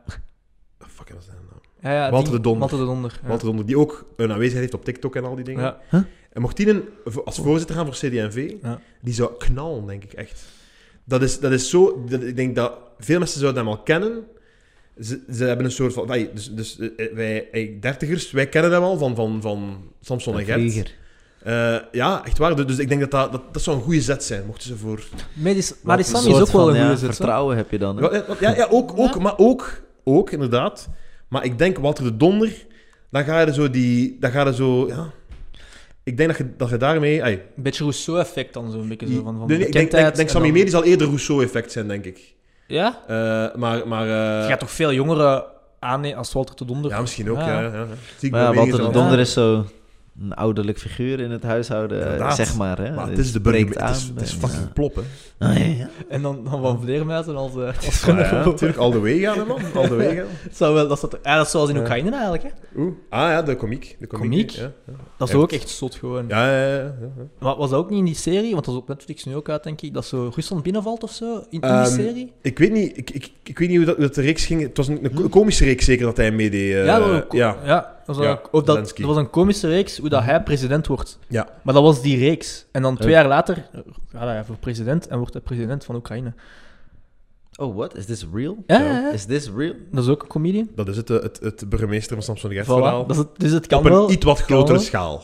[SPEAKER 2] Oh, fuck, wat is zijn naam?
[SPEAKER 1] ja, ja
[SPEAKER 2] Walter
[SPEAKER 1] die-
[SPEAKER 2] de Donder.
[SPEAKER 1] Walter de Donder. ja.
[SPEAKER 2] Walter Donder, die ook een aanwezigheid heeft op TikTok en al die dingen.
[SPEAKER 1] Ja. Oh.
[SPEAKER 2] En mocht die een, als voorzitter gaan voor CD&V,
[SPEAKER 1] Ja.
[SPEAKER 2] die zou knallen, denk ik echt. Dat is, dat is zo... dat- ik denk dat veel mensen zouden hem al kennen. Ze, ze hebben een soort van... wij- dus, dus eh, wij, eh, dertigers, wij kennen hem al van, van, van Samson en Gert.
[SPEAKER 3] Vlieger.
[SPEAKER 2] Eh, ja, echt waar. Dus dus ik denk dat dat, dat, dat zou een goede zet zijn, mochten ze voor...
[SPEAKER 1] Medis, maar die
[SPEAKER 3] Een
[SPEAKER 1] Sammy is
[SPEAKER 3] soort
[SPEAKER 1] ook wel
[SPEAKER 3] van,
[SPEAKER 1] een
[SPEAKER 3] ja,
[SPEAKER 1] goede zet. hè?
[SPEAKER 3] Vertrouwen heb je dan. hè?
[SPEAKER 2] Ja, ja, ja ook, ook, maar ook, ook, inderdaad. Maar ik denk, Walter de Donder, dan ga je zo die... Dan ga je zo... Ja, ik denk dat je, dat je daarmee... ai,
[SPEAKER 1] Een beetje Rousseau-effect dan zo'n beetje zo, van, van
[SPEAKER 2] Nee, nee, ik denk, denk,
[SPEAKER 1] bekendheid
[SPEAKER 2] denk
[SPEAKER 1] en
[SPEAKER 2] Sammy
[SPEAKER 1] dan-
[SPEAKER 2] Medi zal eerder Rousseau-effect zijn, denk ik.
[SPEAKER 1] Ja?
[SPEAKER 2] Eh, maar... maar eh,
[SPEAKER 1] Je gaat toch veel jongeren aannemen als Walter de Donder?
[SPEAKER 2] Ja, misschien ook,
[SPEAKER 1] Ja.
[SPEAKER 2] ja. ja, ja. Zie ik
[SPEAKER 3] Maar ja,
[SPEAKER 2] bij
[SPEAKER 3] Walter
[SPEAKER 2] Medi
[SPEAKER 3] de
[SPEAKER 1] dan-
[SPEAKER 2] is
[SPEAKER 3] Donder is zo een ouderlijk figuur in het huishouden, eh,
[SPEAKER 2] Inderdaad.
[SPEAKER 3] zeg maar. Hè?
[SPEAKER 2] al- Maar het
[SPEAKER 3] Die
[SPEAKER 2] is de
[SPEAKER 3] spreekt
[SPEAKER 2] burgemeester. Het is,
[SPEAKER 3] aan
[SPEAKER 2] het is
[SPEAKER 3] en,
[SPEAKER 2] fucking plop, hè.
[SPEAKER 3] ja. Ah, ja, ja.
[SPEAKER 1] En dan, dan van vleermuizen als... eh, als
[SPEAKER 2] Ja, natuurlijk. Al de way gaan, hè, man. Al de way gaan.
[SPEAKER 1] zou wel, dat, zou toch- ja, dat is zoals in
[SPEAKER 2] Ja.
[SPEAKER 1] Oekraïne eigenlijk, hè?
[SPEAKER 2] Oeh. Ah ja, de komiek. De komiek.
[SPEAKER 1] Komiek?
[SPEAKER 2] Ja, ja.
[SPEAKER 1] Dat is
[SPEAKER 2] Echt.
[SPEAKER 1] ook echt zot gewoon.
[SPEAKER 2] Ja, ja, ja, ja, ja.
[SPEAKER 1] Maar was dat ook niet in die serie? Want dat is op Netflix nu ook uit, denk ik. Dat zo Rusland binnenvalt of zo? In, in die
[SPEAKER 2] Ehm,
[SPEAKER 1] serie?
[SPEAKER 2] Ik weet niet, ik, ik, ik weet niet hoe dat, hoe dat de reeks ging. Het was een, een ko- komische reeks zeker dat hij meedeed. eh,
[SPEAKER 1] ja, dat was een, ko-
[SPEAKER 2] ja.
[SPEAKER 1] ja. dat, was
[SPEAKER 2] Ja,
[SPEAKER 1] een- of dat,
[SPEAKER 2] Zelensky.
[SPEAKER 1] dat was een komische reeks hoe dat hij president wordt.
[SPEAKER 2] Ja.
[SPEAKER 1] Maar dat was die reeks. En dan twee
[SPEAKER 3] Ja.
[SPEAKER 1] jaar later eh, gaat hij voor president en wordt hij president van Oekraïne.
[SPEAKER 3] Oh, what? Is this real?
[SPEAKER 1] Ja, ja, ja.
[SPEAKER 3] Is this real?
[SPEAKER 1] Dat is ook een comedian.
[SPEAKER 2] Dat is het, eh, het, het burgemeester van Samson de Gert
[SPEAKER 1] Voilà.
[SPEAKER 2] verhaal.
[SPEAKER 1] Dat is het- dus het kan
[SPEAKER 2] Op een
[SPEAKER 1] wel.
[SPEAKER 2] iets wat
[SPEAKER 1] kan
[SPEAKER 2] grotere
[SPEAKER 1] wel.
[SPEAKER 2] schaal.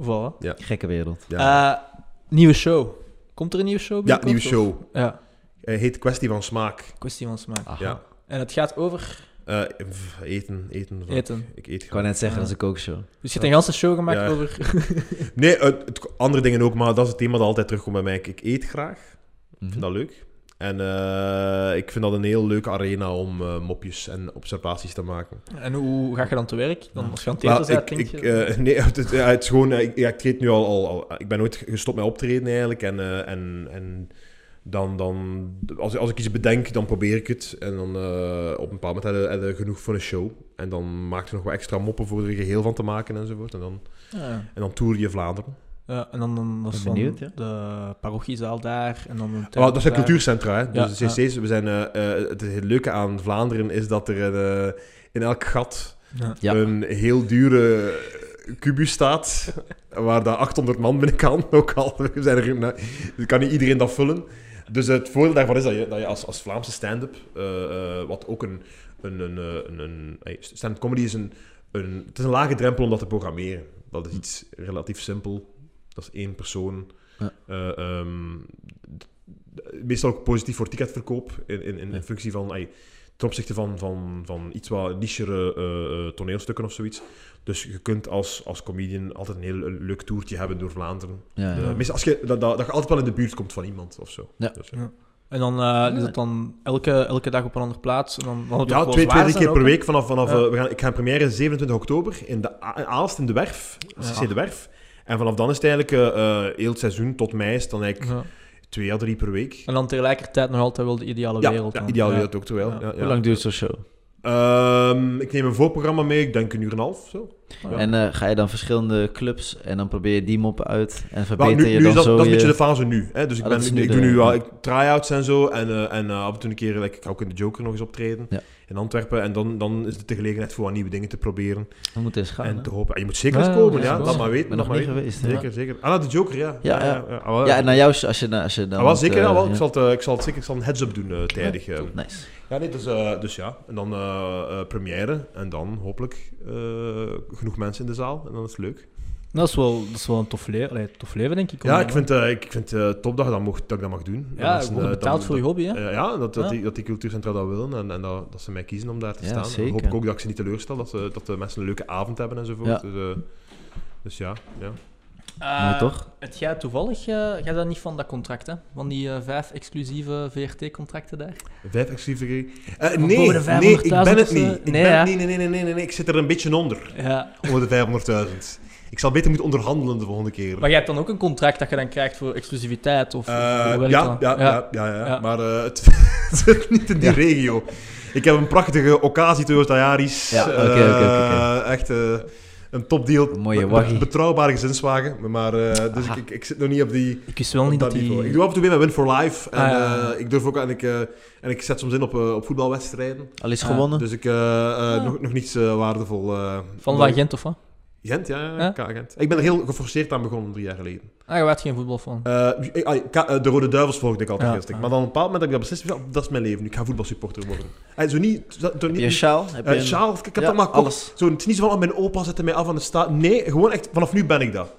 [SPEAKER 1] Voilà.
[SPEAKER 3] Gekke wereld.
[SPEAKER 2] Ja,
[SPEAKER 1] Eh, nieuwe show. Komt er een nieuwe show?
[SPEAKER 2] ja
[SPEAKER 1] binnenkort,
[SPEAKER 2] nieuwe
[SPEAKER 1] of?
[SPEAKER 2] show.
[SPEAKER 1] Ja,
[SPEAKER 2] Hij heet Kwestie van Smaak.
[SPEAKER 1] kwestie van smaak.
[SPEAKER 3] Aha.
[SPEAKER 2] Ja.
[SPEAKER 1] En het gaat over
[SPEAKER 2] Eh, pff, eten, eten. van-
[SPEAKER 1] eten.
[SPEAKER 2] Ik eet
[SPEAKER 3] Ik wou net zeggen, dat is een kookshow.
[SPEAKER 1] Dus je hebt een ganse show gemaakt
[SPEAKER 2] Ja.
[SPEAKER 1] over...
[SPEAKER 2] Nee, eh, het- andere dingen ook, maar dat is het thema dat altijd terugkomt bij mij. Ik, ik eet graag. Ik
[SPEAKER 3] Mhm.
[SPEAKER 2] vind dat leuk. En eh, ik vind dat een heel leuke arena om eh, mopjes en observaties te maken.
[SPEAKER 1] En hoe ga je dan te werk? Dan, als je aan het
[SPEAKER 2] Wel,
[SPEAKER 1] eten bent,
[SPEAKER 2] ik,
[SPEAKER 1] denk
[SPEAKER 2] ik,
[SPEAKER 1] je...
[SPEAKER 2] eh, nee, het, het- ja, het is gewoon, eh, ik, ja, ik treed nu al, al, al- Ik ben nooit gestopt met optreden eigenlijk. En, eh, en, en dan, dan als, als ik iets bedenk, dan probeer ik het. En dan eh, op een bepaald moment heb je- heb je genoeg voor een show. En dan maak je nog wat extra moppen voor er een geheel van te maken enzovoort. En dan,
[SPEAKER 1] Ja.
[SPEAKER 2] en dan toer je Vlaanderen.
[SPEAKER 1] Ja, en dan, dan dat
[SPEAKER 3] Ben
[SPEAKER 1] is dan
[SPEAKER 3] benieuwd, ja.
[SPEAKER 1] de parochiezaal daar en dan een
[SPEAKER 2] Maar Oh, dat zijn
[SPEAKER 1] daar.
[SPEAKER 2] cultuurcentra, hè? Dus
[SPEAKER 1] Ja,
[SPEAKER 2] het, is steeds- we zijn, eh, eh, het, het leuke aan Vlaanderen is dat er eh, in elk gat...
[SPEAKER 1] Ja.
[SPEAKER 3] Ja.
[SPEAKER 2] een heel dure kubus staat, waar daar 800 man binnen kan. Ook al we zijn er, nou, dus kan niet iedereen dat vullen. Dus het voordeel daarvan is dat je, dat je als, als Vlaamse stand-up, eh, eh, wat ook een... een, een, eh, een, een hey, stand-up comedy is een, een... Het is een lage drempel om dat te programmeren. Dat is iets relatief simpel. Dat is één persoon.
[SPEAKER 3] Ja.
[SPEAKER 2] Eh, ehm, d- d- meestal ook positief voor ticketverkoop, in, in, in
[SPEAKER 3] Ja.
[SPEAKER 2] functie van... hey, ten opzichte van, van, van iets wat nichere eh, eh, toneelstukken of zoiets. Dus je kunt als, als comedian altijd een heel leuk toertje hebben door Vlaanderen.
[SPEAKER 3] Ja,
[SPEAKER 2] Eh,
[SPEAKER 3] ja.
[SPEAKER 2] meestal als je, dat, dat, dat je altijd wel in de buurt komt van iemand of zo.
[SPEAKER 3] Ja.
[SPEAKER 2] Dus,
[SPEAKER 1] En dan eh, is dat dan elke, elke dag op een andere plaats? En dan, dan
[SPEAKER 2] ja, twee, twee, drie keer per week. Vanaf, vanaf,
[SPEAKER 1] Ja.
[SPEAKER 2] eh, we gaan, ik ga in première 27 oktober in de A- Aalst in de Werf. CC
[SPEAKER 1] Ja.
[SPEAKER 2] de Werf. En vanaf dan is het eigenlijk eh, eh, heel het seizoen tot mei is het dan eigenlijk
[SPEAKER 1] Ja.
[SPEAKER 2] twee à drie per week.
[SPEAKER 1] En dan tegelijkertijd nog altijd wel de ideale
[SPEAKER 2] Ja,
[SPEAKER 1] wereld.
[SPEAKER 2] ja,
[SPEAKER 1] dan.
[SPEAKER 2] ideaal
[SPEAKER 1] Ja.
[SPEAKER 2] wereld ook terwijl.
[SPEAKER 1] Ja.
[SPEAKER 2] Ja. Ja,
[SPEAKER 3] Hoe lang duurt zo'n show?
[SPEAKER 2] Ehm, ik neem een voorprogramma mee, ik denk een uur en een half. Zo.
[SPEAKER 1] Ja.
[SPEAKER 3] En eh, ga je dan verschillende clubs en dan probeer je die moppen uit en
[SPEAKER 2] Wel,
[SPEAKER 3] verbeter
[SPEAKER 2] Nou, nu,
[SPEAKER 3] je
[SPEAKER 2] nu
[SPEAKER 3] dan
[SPEAKER 2] is dat, dat
[SPEAKER 3] zo
[SPEAKER 2] is een
[SPEAKER 3] je...
[SPEAKER 2] beetje de fase nu. Hè? Dus ik,
[SPEAKER 3] Ah,
[SPEAKER 2] ben,
[SPEAKER 3] dat is
[SPEAKER 2] ik,
[SPEAKER 3] nu
[SPEAKER 2] ik
[SPEAKER 3] de-
[SPEAKER 2] doe nu wel ik, try-outs en zo. En, eh, en eh, af en toe een keer, like, ik ga ook in de Joker nog eens optreden
[SPEAKER 3] Ja.
[SPEAKER 2] in Antwerpen. En dan, dan is het de gelegenheid voor wat nieuwe dingen te proberen.
[SPEAKER 3] We moeten eens gaan.
[SPEAKER 2] en
[SPEAKER 3] hè?
[SPEAKER 2] te hopen. En je moet zeker
[SPEAKER 1] Ja,
[SPEAKER 2] eens
[SPEAKER 1] ja,
[SPEAKER 2] komen,
[SPEAKER 1] ja,
[SPEAKER 2] ja.
[SPEAKER 1] ja.
[SPEAKER 2] Laat maar weten.
[SPEAKER 3] Ik ben
[SPEAKER 2] laat
[SPEAKER 3] nog
[SPEAKER 2] maar
[SPEAKER 3] niet
[SPEAKER 2] weten.
[SPEAKER 3] geweest. hè?
[SPEAKER 2] Zeker, zeker. Ah, nou, de Joker, ja.
[SPEAKER 3] Ja, ja.
[SPEAKER 2] Ah, wel,
[SPEAKER 3] Ja, en naar jou als je, als je dan...
[SPEAKER 2] Ah, wel, zeker.
[SPEAKER 3] eh,
[SPEAKER 2] ja, wel. Ik, zal het, eh, ik zal het zeker ik zal een heads-up doen eh, tijdig. eh.
[SPEAKER 3] Nice.
[SPEAKER 2] Ja, nee, dus, eh, dus ja. En dan eh, eh, première. En dan hopelijk eh, genoeg mensen in de zaal. En dan is het leuk.
[SPEAKER 1] Dat, is wel, dat is wel een tof, le- allee, tof leven, denk ik.
[SPEAKER 2] Ja,
[SPEAKER 1] om-
[SPEAKER 2] ik vind, eh, ik ik vind eh, top dat, je dat, mag, dat ik dat mag doen.
[SPEAKER 1] Ja,
[SPEAKER 2] Dat is
[SPEAKER 1] je
[SPEAKER 2] een,
[SPEAKER 1] wordt
[SPEAKER 2] eh,
[SPEAKER 1] betaald
[SPEAKER 2] dan-
[SPEAKER 1] voor je hobby, hè?
[SPEAKER 2] Eh, ja, dat, dat,
[SPEAKER 1] Ja.
[SPEAKER 2] die, dat die cultuurcentra dat willen en, en dat, dat ze mij kiezen om daar te
[SPEAKER 3] Ah. Ja,
[SPEAKER 2] staan.
[SPEAKER 3] zeker.
[SPEAKER 2] Dan hoop ik ook dat ik ze niet teleurstel, dat, ze, dat de mensen een leuke avond hebben enzovoort.
[SPEAKER 3] Ja.
[SPEAKER 2] Dus, eh, dus ja, ja.
[SPEAKER 1] Eh,
[SPEAKER 3] Mooi, toch?
[SPEAKER 1] Het jij toevallig, jij jij bent niet van dat contract, hè? Van die eh, vijf exclusieve VRT-contracten daar?
[SPEAKER 2] Vijf exclusieve eh,
[SPEAKER 1] Van
[SPEAKER 2] Nee,
[SPEAKER 1] boven de
[SPEAKER 2] nee, ik
[SPEAKER 1] 500.000
[SPEAKER 2] ben
[SPEAKER 1] of
[SPEAKER 2] het
[SPEAKER 1] zo?
[SPEAKER 2] niet. Ik
[SPEAKER 1] Nee,
[SPEAKER 2] ben,
[SPEAKER 1] hè?
[SPEAKER 2] nee, nee, nee, nee, nee, nee, nee, ik zit er een beetje onder,
[SPEAKER 1] Ja.
[SPEAKER 2] onder de 500.000. Ik zal beter moeten onderhandelen de volgende keer.
[SPEAKER 1] Maar jij hebt dan ook een contract dat je dan krijgt voor exclusiviteit? Of,
[SPEAKER 2] Eh,
[SPEAKER 1] of hoe
[SPEAKER 2] ja,
[SPEAKER 1] werkt
[SPEAKER 2] ja,
[SPEAKER 1] dat?
[SPEAKER 2] ja, ja, ja,
[SPEAKER 1] Ja.
[SPEAKER 2] maar eh, het zit niet in die regio. Ik heb een prachtige occasie Toyota Yaris.
[SPEAKER 3] Ja, oké,
[SPEAKER 2] Eh,
[SPEAKER 3] oké, oké,
[SPEAKER 2] Echt eh, een topdeal.
[SPEAKER 3] Een mooie
[SPEAKER 2] Be-
[SPEAKER 3] waggie.
[SPEAKER 2] betrouwbare gezinswagen. Maar, eh, dus ik,
[SPEAKER 3] Aha.
[SPEAKER 2] ik, ik zit nog niet op die...
[SPEAKER 1] Ik wist wel
[SPEAKER 2] op
[SPEAKER 1] Ah. niet dat
[SPEAKER 2] dat
[SPEAKER 1] die...
[SPEAKER 2] niveau. Ik doe af en toe mee met Win for Life. En,
[SPEAKER 1] Ah, ja.
[SPEAKER 2] eh, ik durf ook, en, ik, eh, en ik zet soms in op, eh, op voetbalwedstrijden.
[SPEAKER 3] Al is
[SPEAKER 1] Ja.
[SPEAKER 3] gewonnen?
[SPEAKER 2] Dus ik, eh, eh, nog, nog niets eh, waardevol. eh,
[SPEAKER 1] Ah. Van
[SPEAKER 2] nog-
[SPEAKER 1] Van Gent of wat?
[SPEAKER 2] Gent, ja, ja,
[SPEAKER 1] Ja?
[SPEAKER 2] KA Gent. Ik ben er heel geforceerd aan begonnen drie jaar geleden.
[SPEAKER 1] Ah, je werd geen voetbalfan.
[SPEAKER 2] Eh, ik- ah, ik- eh, de Rode Duivels volgde ik altijd
[SPEAKER 1] Ja, ja.
[SPEAKER 2] gisteren. Maar dan op een bepaald moment heb ik dat beslist. ja, dat is mijn leven. nu. Ik ga voetbalsupporter worden. En zo niet... Zo, zo
[SPEAKER 3] Heb
[SPEAKER 2] niet
[SPEAKER 3] je een sjaal? Heb
[SPEAKER 2] eh,
[SPEAKER 3] je een...
[SPEAKER 2] sjaal, ik heb
[SPEAKER 3] Ja,
[SPEAKER 2] dat maar gekocht.
[SPEAKER 3] alles.
[SPEAKER 2] Zo, het is niet zo van, oh, mijn opa zette mij af aan de staat. Nee, gewoon echt, vanaf nu ben ik dat.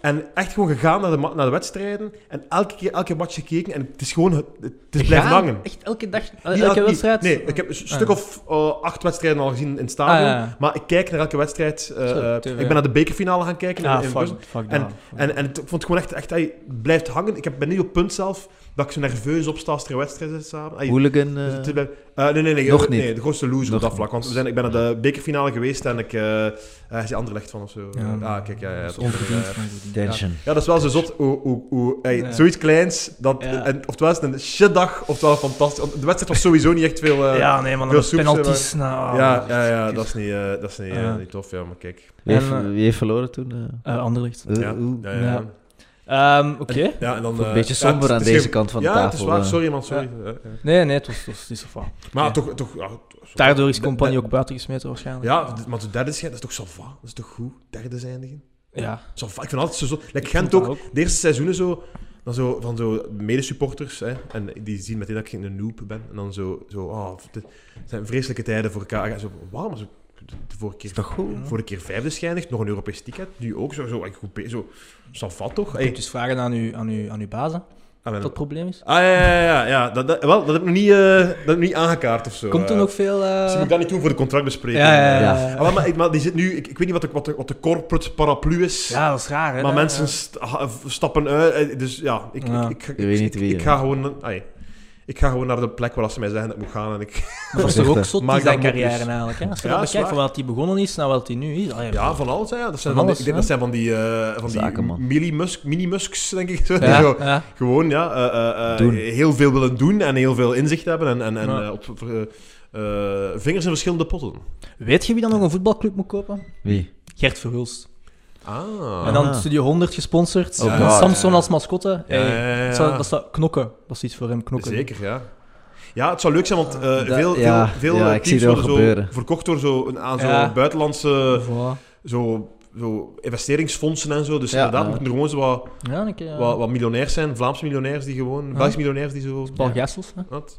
[SPEAKER 2] En echt gewoon gegaan naar de, ma- naar de wedstrijden. En elke keer, elke match gekeken. En het is gewoon, het, het is blijven
[SPEAKER 1] Gaan?
[SPEAKER 2] hangen.
[SPEAKER 1] Echt elke dag,
[SPEAKER 2] Niet
[SPEAKER 1] elke
[SPEAKER 2] elk-
[SPEAKER 1] wedstrijd?
[SPEAKER 2] Nee, ik heb een stuk of eh, acht wedstrijden al gezien in het
[SPEAKER 1] Ah,
[SPEAKER 2] stadion.
[SPEAKER 1] ja, ja.
[SPEAKER 2] Maar ik kijk naar elke wedstrijd. eh,
[SPEAKER 1] Zo,
[SPEAKER 2] eh,
[SPEAKER 1] TV.
[SPEAKER 2] ik ben naar de bekerfinale gaan kijken in-
[SPEAKER 1] Ah,
[SPEAKER 2] in Brussel.
[SPEAKER 1] fuck, fuck
[SPEAKER 2] En,
[SPEAKER 1] dat.
[SPEAKER 2] en, en het- ik vond het gewoon echt, echt hij blijft hangen. Ik heb- ben nu op het punt zelf dat ik zo nerveus opsta als er een wedstrijd is samen. Ai,
[SPEAKER 3] Hooligan? eh,
[SPEAKER 2] het- het blijft- eh, nee, nee, nee,
[SPEAKER 3] nog
[SPEAKER 2] eh, nee,
[SPEAKER 3] niet.
[SPEAKER 2] de grootste loser
[SPEAKER 3] Nog
[SPEAKER 2] op dat
[SPEAKER 3] niet.
[SPEAKER 2] vlak. Want we zijn, ik ben naar de bekerfinale geweest en ik... eh eh, is die Anderlecht van of zo?
[SPEAKER 1] Ja.
[SPEAKER 2] ah, kijk, ja, ja.
[SPEAKER 1] Dat is
[SPEAKER 2] dat is-
[SPEAKER 1] onverdiend.
[SPEAKER 2] eh,
[SPEAKER 3] Tension.
[SPEAKER 2] ja, dat is wel zo zot. Hoe, hoe, hoe, ey,
[SPEAKER 1] Ja.
[SPEAKER 2] Zoiets kleins. Dat,
[SPEAKER 1] Ja.
[SPEAKER 2] en, oftewel is het een shitdag, oftewel een fantastisch... want De wedstrijd was sowieso niet echt veel... eh,
[SPEAKER 1] ja, nee, man,
[SPEAKER 2] veel
[SPEAKER 1] Ah, dat is
[SPEAKER 2] soeps, eh,
[SPEAKER 1] penalties. Nou,
[SPEAKER 2] ja, ja, ja, dat is niet, eh, dat is niet, eh,
[SPEAKER 1] Ja.
[SPEAKER 2] niet tof. Ja, maar kijk.
[SPEAKER 3] Wie, heeft,
[SPEAKER 1] En, eh,
[SPEAKER 3] wie heeft verloren toen? eh?
[SPEAKER 1] Eh, Anderlecht.
[SPEAKER 3] Eh,
[SPEAKER 2] Ja,
[SPEAKER 3] oeh.
[SPEAKER 2] ja,
[SPEAKER 1] Ja.
[SPEAKER 2] ja.
[SPEAKER 1] Ehm, Oké.
[SPEAKER 2] Ja, en dan...
[SPEAKER 3] Voelt
[SPEAKER 2] eh,
[SPEAKER 3] Een beetje
[SPEAKER 2] ja, het-
[SPEAKER 3] somber aan
[SPEAKER 2] het is
[SPEAKER 3] deze
[SPEAKER 2] geen-
[SPEAKER 3] kant van de
[SPEAKER 2] ja,
[SPEAKER 3] tafel.
[SPEAKER 2] het is waar.
[SPEAKER 3] eh.
[SPEAKER 2] Sorry, man. Sorry. Ja, ja.
[SPEAKER 1] Nee, nee, het was, het was niet zo fout.
[SPEAKER 2] Maar
[SPEAKER 1] Ja.
[SPEAKER 2] toch... toch ja, toch-
[SPEAKER 1] Daardoor is
[SPEAKER 2] de-
[SPEAKER 1] Compagnie
[SPEAKER 2] de-
[SPEAKER 1] ook buiten gesmeten waarschijnlijk.
[SPEAKER 2] Ja, d- maar de derde schijn, dat is toch zo Dat is toch goed? Derde eindigen?
[SPEAKER 1] Ja.
[SPEAKER 2] Zo va- Ik vind altijd zo... zo like
[SPEAKER 1] vond
[SPEAKER 2] Gent
[SPEAKER 1] dat
[SPEAKER 2] ook. De eerste seizoenen zo... Dan zo van zo medesupporters, hè, en die zien meteen dat ik een noob ben. En dan zo, zo oh, dit zijn vreselijke tijden voor elkaar. En zo, wauw, maar zo, de vorige keer,
[SPEAKER 3] Toch goed?
[SPEAKER 2] vorige keer vijfde schijnigt, nog een Europees ticket, nu ook, zo, zo, like, goed be- zo, zo vat toch?
[SPEAKER 1] Je
[SPEAKER 2] Hey,
[SPEAKER 1] kunt dus vragen aan uw, aan uw, aan uw baas hè,
[SPEAKER 2] ah,
[SPEAKER 1] wat
[SPEAKER 2] mijn-
[SPEAKER 1] dat probleem is.
[SPEAKER 2] ah, ja, ja, ja, ja, dat, dat, wel, dat heb ik nog niet, eh, dat heb ik nog niet aangekaart of zo.
[SPEAKER 1] Komt er
[SPEAKER 2] eh.
[SPEAKER 1] nog veel... eh,
[SPEAKER 2] Misschien moet ik dat niet doen voor de contractbespreking.
[SPEAKER 1] ja, ja, ja,
[SPEAKER 3] Ja.
[SPEAKER 1] ja.
[SPEAKER 2] Ah, wel, maar, ik- maar die zit nu, ik, ik weet niet wat de, wat de, wat de corporate paraplu is.
[SPEAKER 1] Ja, dat is raar, hè?
[SPEAKER 2] maar
[SPEAKER 1] dat-
[SPEAKER 2] mensen st- ha- stappen uit. eh, Dus ja, ik,
[SPEAKER 1] Ja.
[SPEAKER 2] ik, ik,
[SPEAKER 3] Je weet niet
[SPEAKER 2] ik-
[SPEAKER 3] wie,
[SPEAKER 2] ik
[SPEAKER 3] hè.
[SPEAKER 2] ga gewoon. ai, Ik ga gewoon naar de plek waar ze mij zeggen dat ik moet gaan. En ik,
[SPEAKER 1] Maar dat is toch ook
[SPEAKER 3] Voorzichtig.
[SPEAKER 1] zot,
[SPEAKER 2] Maak
[SPEAKER 1] die
[SPEAKER 2] dat
[SPEAKER 1] zijn carrière
[SPEAKER 2] mopjes.
[SPEAKER 1] eigenlijk. Hè? Als je
[SPEAKER 2] Ja,
[SPEAKER 1] dat
[SPEAKER 2] dat is
[SPEAKER 1] bekijkt, van
[SPEAKER 2] waar.
[SPEAKER 1] wat hij begonnen is naar wat hij nu is. Allee,
[SPEAKER 2] ja, van alles. hè, Ja. Dat,
[SPEAKER 1] Van
[SPEAKER 2] zijn van die-
[SPEAKER 1] alles,
[SPEAKER 2] ik denk
[SPEAKER 1] ja.
[SPEAKER 2] dat zijn van die, eh van die
[SPEAKER 3] Zakenman.
[SPEAKER 2] mini-musks, mini-musks, denk ik.
[SPEAKER 1] ja,
[SPEAKER 2] Zo,
[SPEAKER 1] ja.
[SPEAKER 2] Gewoon, ja. eh, eh, eh,
[SPEAKER 3] Doen.
[SPEAKER 2] heel veel willen doen en heel veel inzicht hebben. En, en, en
[SPEAKER 1] Ja.
[SPEAKER 2] eh, op, eh, eh, vingers in verschillende potten.
[SPEAKER 1] Weet je wie dan nog een voetbalclub moet kopen?
[SPEAKER 3] Wie?
[SPEAKER 1] Gert Verhulst.
[SPEAKER 2] Ah.
[SPEAKER 1] En dan
[SPEAKER 3] Aha.
[SPEAKER 1] Studio 100 gesponsord.
[SPEAKER 3] Oh
[SPEAKER 1] en
[SPEAKER 3] God.
[SPEAKER 1] Samson als mascotte.
[SPEAKER 2] Ja,
[SPEAKER 1] Hey,
[SPEAKER 2] ja, ja, ja.
[SPEAKER 1] Dat, zou, dat zou knokken. Dat is iets voor hem, knokken.
[SPEAKER 2] Zeker, ja. Ja, het zou leuk zijn, want eh, veel,
[SPEAKER 3] ja,
[SPEAKER 2] veel, veel
[SPEAKER 3] ja,
[SPEAKER 2] eh,
[SPEAKER 3] ik zie
[SPEAKER 2] teams
[SPEAKER 3] het wel
[SPEAKER 2] worden zo
[SPEAKER 3] gebeuren.
[SPEAKER 2] verkocht door zo, een- aan zo'n
[SPEAKER 1] Ja.
[SPEAKER 2] buitenlandse
[SPEAKER 1] Voilà.
[SPEAKER 2] zo, zo investeringsfondsen en zo. Dus
[SPEAKER 3] Ja,
[SPEAKER 2] inderdaad
[SPEAKER 3] ja.
[SPEAKER 2] moeten er gewoon zo wat,
[SPEAKER 1] Ja, ik, ja.
[SPEAKER 2] Eh, wat, wat miljonairs zijn. Vlaamse miljonairs die gewoon...
[SPEAKER 1] Ja.
[SPEAKER 2] Belgische miljonairs die zo...
[SPEAKER 1] Paul Gessels. Hè?
[SPEAKER 2] Wat?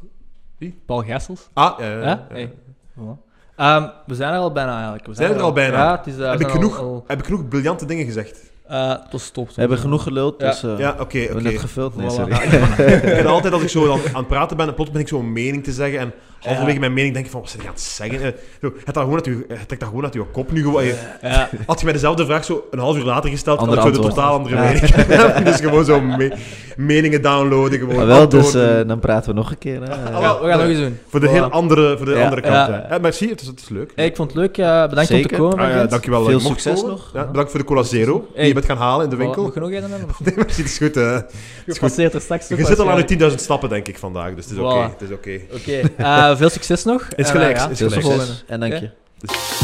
[SPEAKER 1] Paul Gessels.
[SPEAKER 2] Ah, ja, ja,
[SPEAKER 1] Hè?
[SPEAKER 2] ja.
[SPEAKER 1] Hey. Voilà. Ehm, we zijn er al bijna eigenlijk. We
[SPEAKER 2] Zijn we er al bijna?
[SPEAKER 1] Ja, het is, eh, we
[SPEAKER 2] Heb
[SPEAKER 1] zijn
[SPEAKER 2] ik
[SPEAKER 1] al-
[SPEAKER 2] genoeg?
[SPEAKER 1] al-
[SPEAKER 2] Heb ik genoeg briljante dingen gezegd?
[SPEAKER 1] eh, tot stop.
[SPEAKER 3] We hebben genoeg geluld,
[SPEAKER 1] Ja.
[SPEAKER 3] dus... eh,
[SPEAKER 2] Ja, oké,
[SPEAKER 3] We
[SPEAKER 2] oké.
[SPEAKER 3] hebben net gevuld, nee,
[SPEAKER 1] Voilà.
[SPEAKER 3] sorry.
[SPEAKER 2] Ik ben altijd, als ik zo aan, aan het praten ben, en plots ben ik zo een mening te zeggen. En halverwege mijn mening denk ik van, wat zit ik aan het zeggen? Eh, Zo, het dat gewoon uit uw- het dat gewoon uit uw kop nu gewoon... je-
[SPEAKER 1] Ja,
[SPEAKER 2] Had je mij dezelfde vraag zo een half uur later gesteld, had
[SPEAKER 3] Ander
[SPEAKER 2] ik zo de
[SPEAKER 3] antwoord.
[SPEAKER 2] totaal andere
[SPEAKER 3] Ja.
[SPEAKER 2] mening. dus gewoon zo me- meningen downloaden. Gewoon
[SPEAKER 3] Maar wel, dus
[SPEAKER 2] antwoorden.
[SPEAKER 3] eh, dan praten we nog een keer. hè.
[SPEAKER 1] we gaan, we gaan nog eens doen.
[SPEAKER 2] eh, voor de
[SPEAKER 1] Voilà.
[SPEAKER 2] hele andere, voor de
[SPEAKER 3] Ja,
[SPEAKER 2] andere kant.
[SPEAKER 1] ja.
[SPEAKER 2] hè. Eh, merci, het is, het is leuk.
[SPEAKER 1] Hey, ik vond het leuk. eh, bedankt om te
[SPEAKER 3] Zeker.
[SPEAKER 1] komen.
[SPEAKER 2] Ah, ja,
[SPEAKER 1] Vincent.
[SPEAKER 2] dankjewel.
[SPEAKER 3] Veel
[SPEAKER 2] Ik mocht
[SPEAKER 3] succes
[SPEAKER 2] komen.
[SPEAKER 3] nog.
[SPEAKER 2] Ja, bedankt voor de Cola Zero, die
[SPEAKER 1] Hey.
[SPEAKER 2] je bent gaan halen in de
[SPEAKER 1] Voilà,
[SPEAKER 2] winkel.
[SPEAKER 1] Moet je nog één hebben?
[SPEAKER 2] Nee, merci, het is goed. eh.
[SPEAKER 1] Je passeert er straks.
[SPEAKER 2] je zit al aan je 10.000 stappen, denk ik, vandaag. Dus het is oké.
[SPEAKER 1] Voilà.
[SPEAKER 2] het is oké.
[SPEAKER 1] Oké, eh, veel succes nog.
[SPEAKER 2] Is
[SPEAKER 1] En,
[SPEAKER 2] gelijk,
[SPEAKER 1] eh, ja, tot
[SPEAKER 2] is
[SPEAKER 1] de
[SPEAKER 2] gelijk.
[SPEAKER 1] volgende.
[SPEAKER 3] Succes en dank
[SPEAKER 1] Oké.
[SPEAKER 3] je.
[SPEAKER 2] Dus-